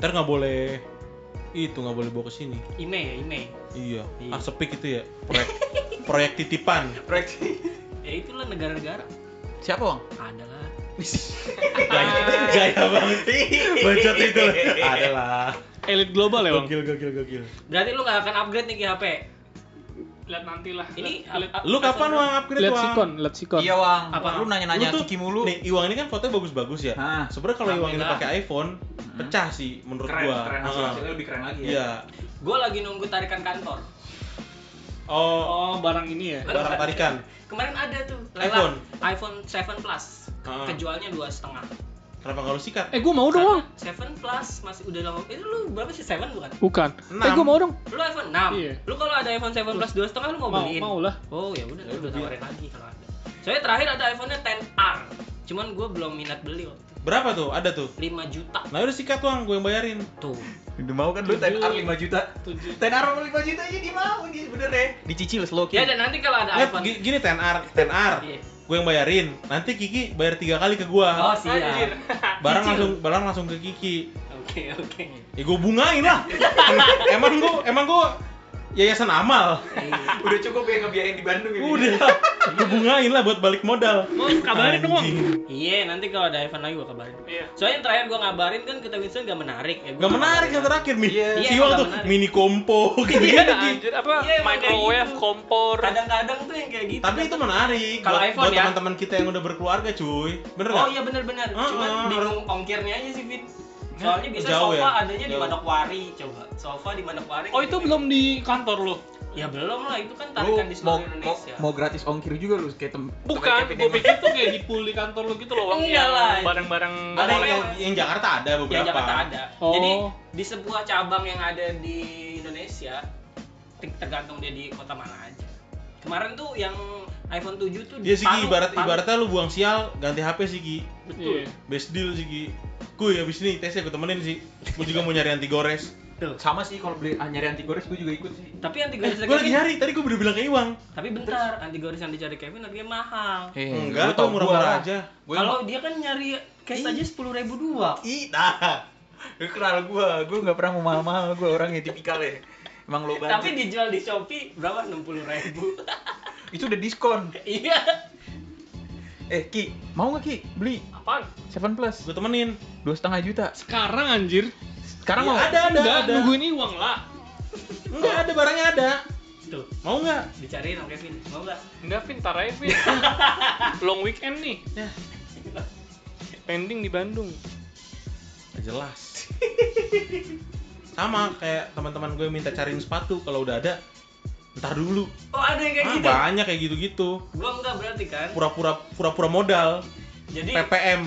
[SPEAKER 2] Ntar gak boleh Itu gak boleh bawa ke sini
[SPEAKER 1] IMEI ya IMEI
[SPEAKER 2] Iya
[SPEAKER 1] Iya.
[SPEAKER 2] Ah sepik itu ya Proyek Proyek titipan
[SPEAKER 4] Proyeksi.
[SPEAKER 1] ya itulah negara-negara
[SPEAKER 4] Siapa, Bang?
[SPEAKER 1] ada lah
[SPEAKER 2] Gaya, gaya banget Bacot itu loh Adalah
[SPEAKER 5] Elite global ya bang.
[SPEAKER 2] Gokil gokil gokil
[SPEAKER 1] berarti lu nggak akan upgrade nih ke HP
[SPEAKER 5] Lihat nanti lah.
[SPEAKER 1] ini
[SPEAKER 5] lihat
[SPEAKER 1] up- up-
[SPEAKER 2] Lu kapan
[SPEAKER 1] iPhone
[SPEAKER 2] Wang upgrade
[SPEAKER 5] lihat
[SPEAKER 2] Wang?
[SPEAKER 5] sikon, lihat sikon.
[SPEAKER 4] Iya, Wang.
[SPEAKER 1] Apa?
[SPEAKER 4] Lu nanya-nanya
[SPEAKER 2] Lu tuh-
[SPEAKER 4] Kiki mulu.
[SPEAKER 2] Nih Iwang ini kan fotonya bagus-bagus ya
[SPEAKER 4] Hah.
[SPEAKER 2] Sebenernya kalau Iwang ini
[SPEAKER 1] Alhamdulillah.
[SPEAKER 2] pakai iPhone Pecah sih menurut gua
[SPEAKER 4] hasil-
[SPEAKER 2] Ah.
[SPEAKER 4] lebih keren lagi ya.
[SPEAKER 2] Iya
[SPEAKER 1] gue lagi nunggu tarikan kantor
[SPEAKER 2] Oh
[SPEAKER 5] Oh, barang ini ya.
[SPEAKER 2] Barang tarikan
[SPEAKER 1] kemarin ada tuh
[SPEAKER 2] iPhone?
[SPEAKER 1] iPhone 7 Plus
[SPEAKER 2] Ah.
[SPEAKER 1] kejualnya dua setengah
[SPEAKER 2] Kenapa gak lu sikat?
[SPEAKER 5] Eh, gua mau dong, Bang.
[SPEAKER 1] 7 Plus masih udah lama itu lu berapa sih 7 bukan
[SPEAKER 5] Bukan.
[SPEAKER 2] Enam.
[SPEAKER 5] Eh, gua mau dong.
[SPEAKER 1] lu iPhone 6
[SPEAKER 5] Iya.
[SPEAKER 1] lu kalau ada iPhone 7 Plus dua setengah lu mau,
[SPEAKER 5] Mau,
[SPEAKER 1] beliin
[SPEAKER 5] mau lah.
[SPEAKER 1] oh ya udah
[SPEAKER 2] Ya
[SPEAKER 1] lu
[SPEAKER 2] udah,
[SPEAKER 1] tawarin lagi kalau ada soalnya terakhir ada iPhone-nya 10R cuman gue belum minat beli waktu itu
[SPEAKER 2] Berapa tuh? Ada tuh
[SPEAKER 1] 5 juta
[SPEAKER 2] Nah udah sikat Wang, gue yang bayarin
[SPEAKER 1] tuh
[SPEAKER 4] Udah mau kan lu 10R 5 juta. 10R 5 juta aja dia mau dia bener deh. Dicicil slow
[SPEAKER 1] ya dan nanti kalau ada
[SPEAKER 2] Eh,
[SPEAKER 1] iPhone
[SPEAKER 2] gi- gini 10R, 10R.
[SPEAKER 1] Iya.
[SPEAKER 2] Gue yang bayarin. Nanti Kiki bayar tiga kali ke
[SPEAKER 1] oh
[SPEAKER 2] gua.
[SPEAKER 1] siap
[SPEAKER 2] barang langsung barang langsung ke Kiki.
[SPEAKER 1] oke oke
[SPEAKER 2] Ya gue bungain lah. Em- emang gue emang gue yayasan amal.
[SPEAKER 4] Udah cukup ya ngebiayain di Bandung ini.
[SPEAKER 2] Udah. Gue bungain lah buat balik modal.
[SPEAKER 5] Mau kabarin dong, Bang.
[SPEAKER 2] Anjing.
[SPEAKER 1] iya nanti kalau ada iPhone lagi gue kabarin
[SPEAKER 5] Iya.
[SPEAKER 1] soalnya yang terakhir gue ngabarin kan kata Winston gak menarik ya gua
[SPEAKER 2] Gak menarik yang
[SPEAKER 1] kabarin.
[SPEAKER 2] terakhir nih.
[SPEAKER 4] Iya.
[SPEAKER 2] Si Iwang
[SPEAKER 1] Iya,
[SPEAKER 2] tuh
[SPEAKER 1] gak menarik.
[SPEAKER 2] mini kompo gitu
[SPEAKER 5] Iya,
[SPEAKER 2] gitu.
[SPEAKER 5] anjir apa
[SPEAKER 1] Iya, emang kayak
[SPEAKER 5] microwave,
[SPEAKER 1] gitu.
[SPEAKER 5] kompor.
[SPEAKER 1] kadang-kadang tuh yang kayak gitu
[SPEAKER 2] Tapi itu menarik.
[SPEAKER 1] Kalau
[SPEAKER 2] buat-
[SPEAKER 1] iPhone
[SPEAKER 2] buat
[SPEAKER 1] ya.
[SPEAKER 2] teman-teman kita yang udah berkeluarga, cuy. Bener
[SPEAKER 1] oh
[SPEAKER 2] gak?
[SPEAKER 1] iya benar-benar
[SPEAKER 2] Ah,
[SPEAKER 1] cuman
[SPEAKER 2] ah.
[SPEAKER 1] bingung ongkirnya aja sih Fit soalnya bisa
[SPEAKER 2] Iya, Jauh
[SPEAKER 1] sofa
[SPEAKER 2] ya?
[SPEAKER 1] adanya di
[SPEAKER 2] Jauh.
[SPEAKER 1] Manokwari coba sofa di Manokwari
[SPEAKER 5] Oh, itu belum di kantor lo.
[SPEAKER 1] ya belum lah itu kan
[SPEAKER 4] Lu
[SPEAKER 1] tarikan di
[SPEAKER 4] mau,
[SPEAKER 1] seluruh
[SPEAKER 4] mau,
[SPEAKER 1] Indonesia
[SPEAKER 4] mau gratis ongkir juga lu kayak tem
[SPEAKER 5] Bukan,
[SPEAKER 4] kayak Kevin
[SPEAKER 5] gue
[SPEAKER 4] Ema.
[SPEAKER 5] pikir tuh kayak di pool di kantor lo gitu loh, Iya. Bang.
[SPEAKER 1] Enggak lah.
[SPEAKER 5] Yang barang-barang
[SPEAKER 2] Ada yang,
[SPEAKER 1] Ada
[SPEAKER 2] yang,
[SPEAKER 1] yang-
[SPEAKER 2] yang Jakarta ada
[SPEAKER 1] ya
[SPEAKER 2] beberapa.
[SPEAKER 1] Jakarta ada
[SPEAKER 5] Oh.
[SPEAKER 1] jadi di sebuah cabang yang ada di Indonesia te- tergantung dia di kota mana aja kemarin tuh yang iPhone 7 tuh
[SPEAKER 2] Dia
[SPEAKER 1] di
[SPEAKER 2] Iya sih Gi,
[SPEAKER 1] Palu-
[SPEAKER 2] ibarat
[SPEAKER 1] Palu.
[SPEAKER 2] ibaratnya Iya. lu buang sial ganti HP sih Gi.
[SPEAKER 5] Betul.
[SPEAKER 2] Best deal sih Gi. Kuy abis ini tesnya gue temenin sih. Gue juga mau nyari anti gores.
[SPEAKER 1] Tuh.
[SPEAKER 4] Sama sih kalau beli ah, nyari anti gores gue juga ikut sih.
[SPEAKER 1] tapi anti
[SPEAKER 2] Eh,
[SPEAKER 1] gores
[SPEAKER 2] gue lagi nyari tadi gue udah bilang ke Iwang.
[SPEAKER 1] tapi bentar anti gores yang dicari Kevin harganya mahal
[SPEAKER 4] Eh,
[SPEAKER 2] Enggak, tuh murah-murah aja.
[SPEAKER 1] kalau dia kan nyari case
[SPEAKER 2] iya.
[SPEAKER 1] aja sepuluh ribu dua
[SPEAKER 4] i dah. Lu kenal gua, gua enggak pernah mau mahal-mahal gua orangnya tipikal ya. Emang lo
[SPEAKER 2] Iya,
[SPEAKER 4] banget.
[SPEAKER 1] tapi dijual di Shopee berapa enam puluh ribu
[SPEAKER 4] itu udah diskon.
[SPEAKER 1] iya
[SPEAKER 4] Eh Ki, mau nggak Ki beli
[SPEAKER 5] Apaan?
[SPEAKER 4] 7 Plus
[SPEAKER 2] Gue temenin.
[SPEAKER 4] dua setengah juta?
[SPEAKER 5] Sekarang anjir.
[SPEAKER 1] Iya,
[SPEAKER 2] Ya,
[SPEAKER 4] Sekarang mau?
[SPEAKER 2] ada, ada,
[SPEAKER 5] Enggak,
[SPEAKER 2] ada.
[SPEAKER 5] nungguin uang lah.
[SPEAKER 2] Enggak ada barangnya ada.
[SPEAKER 1] Tuh,
[SPEAKER 2] Mau nggak?
[SPEAKER 1] dicariin sama Kevin. Mau nggak?
[SPEAKER 5] Enggak, Vin, tar aja, Vin. Long weekend nih. Pending di Bandung.
[SPEAKER 2] Nggak jelas. Sama kayak teman-teman gue minta cariin sepatu kalau udah ada ntar dulu.
[SPEAKER 1] Oh, ada yang kayak
[SPEAKER 2] Ah,
[SPEAKER 1] gitu.
[SPEAKER 2] banyak kayak gitu-gitu.
[SPEAKER 1] Gua enggak berarti kan.
[SPEAKER 2] Pura-pura pura-pura modal.
[SPEAKER 1] Jadi oke.
[SPEAKER 2] PPM.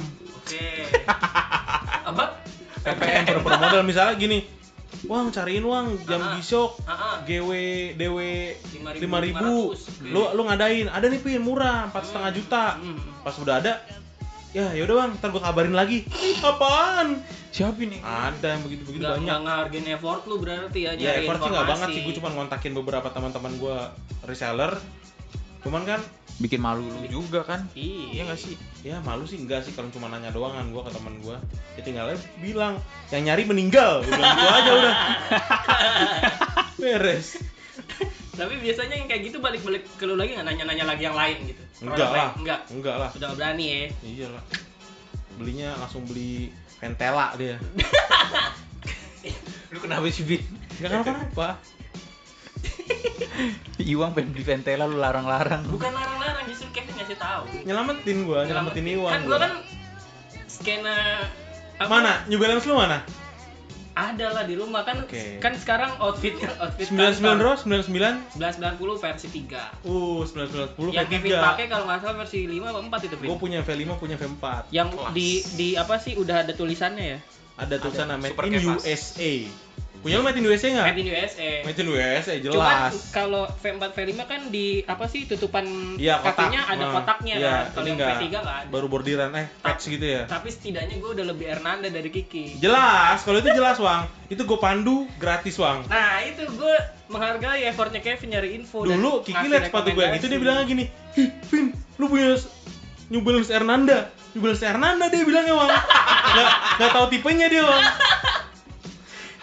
[SPEAKER 1] Apa?
[SPEAKER 2] PPM pura-pura modal misalnya gini. Wang cariin Wang jam
[SPEAKER 1] Ah.
[SPEAKER 2] besok
[SPEAKER 1] Heeh.
[SPEAKER 2] GW DW
[SPEAKER 1] 5.500.
[SPEAKER 2] 5000. Lu
[SPEAKER 1] iya.
[SPEAKER 2] lu ngadain, ada nih pin murah 4,5
[SPEAKER 1] Hmm.
[SPEAKER 2] juta. Pas udah ada Ya, yaudah bang, ntar gue kabarin lagi. Ih, Apaan?
[SPEAKER 4] Siapa ini?
[SPEAKER 2] Ada yang begitu-begitu
[SPEAKER 1] Enggak
[SPEAKER 2] banyak.
[SPEAKER 1] enggak ngehargain effort lu berarti ya
[SPEAKER 2] Ya,
[SPEAKER 1] nyari
[SPEAKER 2] effort sih nggak banget
[SPEAKER 1] informasi.
[SPEAKER 2] sih. Gue cuma ngontakin beberapa teman-teman gue reseller. Cuman kan,
[SPEAKER 4] Bikin malu lu juga kan?
[SPEAKER 1] Iya
[SPEAKER 4] nggak sih?
[SPEAKER 2] ya malu sih enggak sih kalau cuma nanya doangan gue ke teman gue. Ya tinggalnya bilang, yang nyari meninggal. Gue bilang gue aja udah. Beres.
[SPEAKER 1] Tapi biasanya yang kayak gitu balik-balik ke lu lagi nggak nanya-nanya lagi yang lain gitu.
[SPEAKER 2] Enggak
[SPEAKER 1] Orang lain.
[SPEAKER 2] lah.
[SPEAKER 1] Enggak.
[SPEAKER 2] Enggak lah.
[SPEAKER 1] Sudah nggak berani ya.
[SPEAKER 2] Iya lah. Belinya langsung beli pentela dia.
[SPEAKER 4] Lu kenapa sih, Bin?
[SPEAKER 2] Enggak kenapa-kenapa.
[SPEAKER 4] Iwang pengen beli Ventela lu larang-larang.
[SPEAKER 1] Bukan larang-larang justru Kevin ngasih tahu.
[SPEAKER 2] Nyelamatin gue, nyelamatin Iwan.
[SPEAKER 1] Kan gua kan skena apa?
[SPEAKER 2] Mana? New Balance lu mana?
[SPEAKER 1] Ada lah di rumah kan
[SPEAKER 2] Oke.
[SPEAKER 1] kan sekarang outfitnya outfit kan
[SPEAKER 2] 99
[SPEAKER 1] kantor.
[SPEAKER 2] Rose, 99.
[SPEAKER 1] 1990 versi 3.
[SPEAKER 2] Uh, 9910
[SPEAKER 1] yang Kevin
[SPEAKER 2] V3.
[SPEAKER 1] pakai kalau nggak salah versi 5 atau 4 itu Vin.
[SPEAKER 2] Gue punya V5, punya V4.
[SPEAKER 1] yang
[SPEAKER 4] Kelas.
[SPEAKER 1] di di apa sih udah ada tulisannya ya?
[SPEAKER 2] Ada tulisan
[SPEAKER 4] Ada.
[SPEAKER 2] namanya
[SPEAKER 4] Super
[SPEAKER 2] in
[SPEAKER 4] Kevas.
[SPEAKER 2] USA. Punya lu made in USA nggak?
[SPEAKER 1] Made in USA.
[SPEAKER 2] Iya. Made in USA
[SPEAKER 1] Cuman
[SPEAKER 2] jelas.
[SPEAKER 1] kalau V4 V5 kan di apa sih tutupan
[SPEAKER 2] Iya, kotak.
[SPEAKER 1] kakinya ada
[SPEAKER 2] Nah,
[SPEAKER 1] kotaknya
[SPEAKER 2] iya,
[SPEAKER 1] kan. Kalau
[SPEAKER 2] ini
[SPEAKER 1] yang
[SPEAKER 2] nggak.
[SPEAKER 1] V3 nggak ada.
[SPEAKER 2] Baru bordiran eh patch gitu ya.
[SPEAKER 1] Tapi setidaknya gue udah lebih Hernanda dari Kiki.
[SPEAKER 2] Jelas, kalau itu jelas, Wang. Itu gue pandu gratis, Wang.
[SPEAKER 1] Nah itu gue menghargai effortnya Kevin nyari info dan
[SPEAKER 2] Dulu Kiki
[SPEAKER 1] ngasih
[SPEAKER 2] liat sepatu gue yang itu dia bilangnya gini, "Ih, Vin, lu punya s- New Balance Hernanda." New Balance Hernanda dia bilangnya, Wang. Nggak nggak tahu tipenya dia, Wang.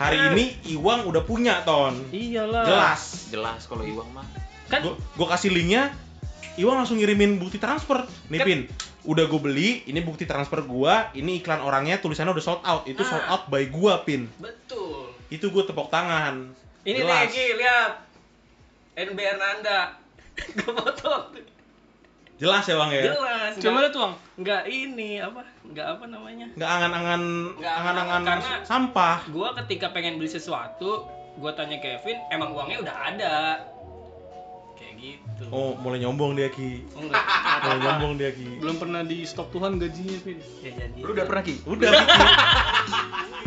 [SPEAKER 2] Hari ini Iwang udah punya, Ton.
[SPEAKER 1] Iyalah.
[SPEAKER 2] Jelas.
[SPEAKER 4] Jelas kalau Iwang mah.
[SPEAKER 1] Kan
[SPEAKER 2] Gue gua kasih linknya Iwan langsung ngirimin bukti transfer nih
[SPEAKER 1] Kan-
[SPEAKER 2] Pin udah gue beli ini bukti transfer gua ini iklan orangnya tulisannya udah sold
[SPEAKER 1] Ah.
[SPEAKER 2] out itu sold out by gua Pin
[SPEAKER 1] betul.
[SPEAKER 2] itu gue tepok tangan
[SPEAKER 1] Ini nih
[SPEAKER 2] jelas
[SPEAKER 1] Ki lihat NB Hernanda. gue foto.
[SPEAKER 2] jelas ya bang ya
[SPEAKER 1] Jelas.
[SPEAKER 5] Coba lihat, Bang.
[SPEAKER 1] Enggak ini apa? Enggak apa namanya?
[SPEAKER 2] nggak angan-angan
[SPEAKER 1] Nggak
[SPEAKER 2] angan-angan
[SPEAKER 1] karena-
[SPEAKER 2] sampah
[SPEAKER 1] Gua ketika pengen beli sesuatu, gua tanya Kevin, emang uangnya udah ada. Kayak gitu.
[SPEAKER 2] oh mulai nyombong dia Ki
[SPEAKER 1] Oh, enggak.
[SPEAKER 2] mulai nyombong dia Ki
[SPEAKER 5] Belum pernah di stop Tuhan gajinya, Vin.
[SPEAKER 1] Ya, janji.
[SPEAKER 4] Lu udah pernah Ki?
[SPEAKER 2] udah Ki.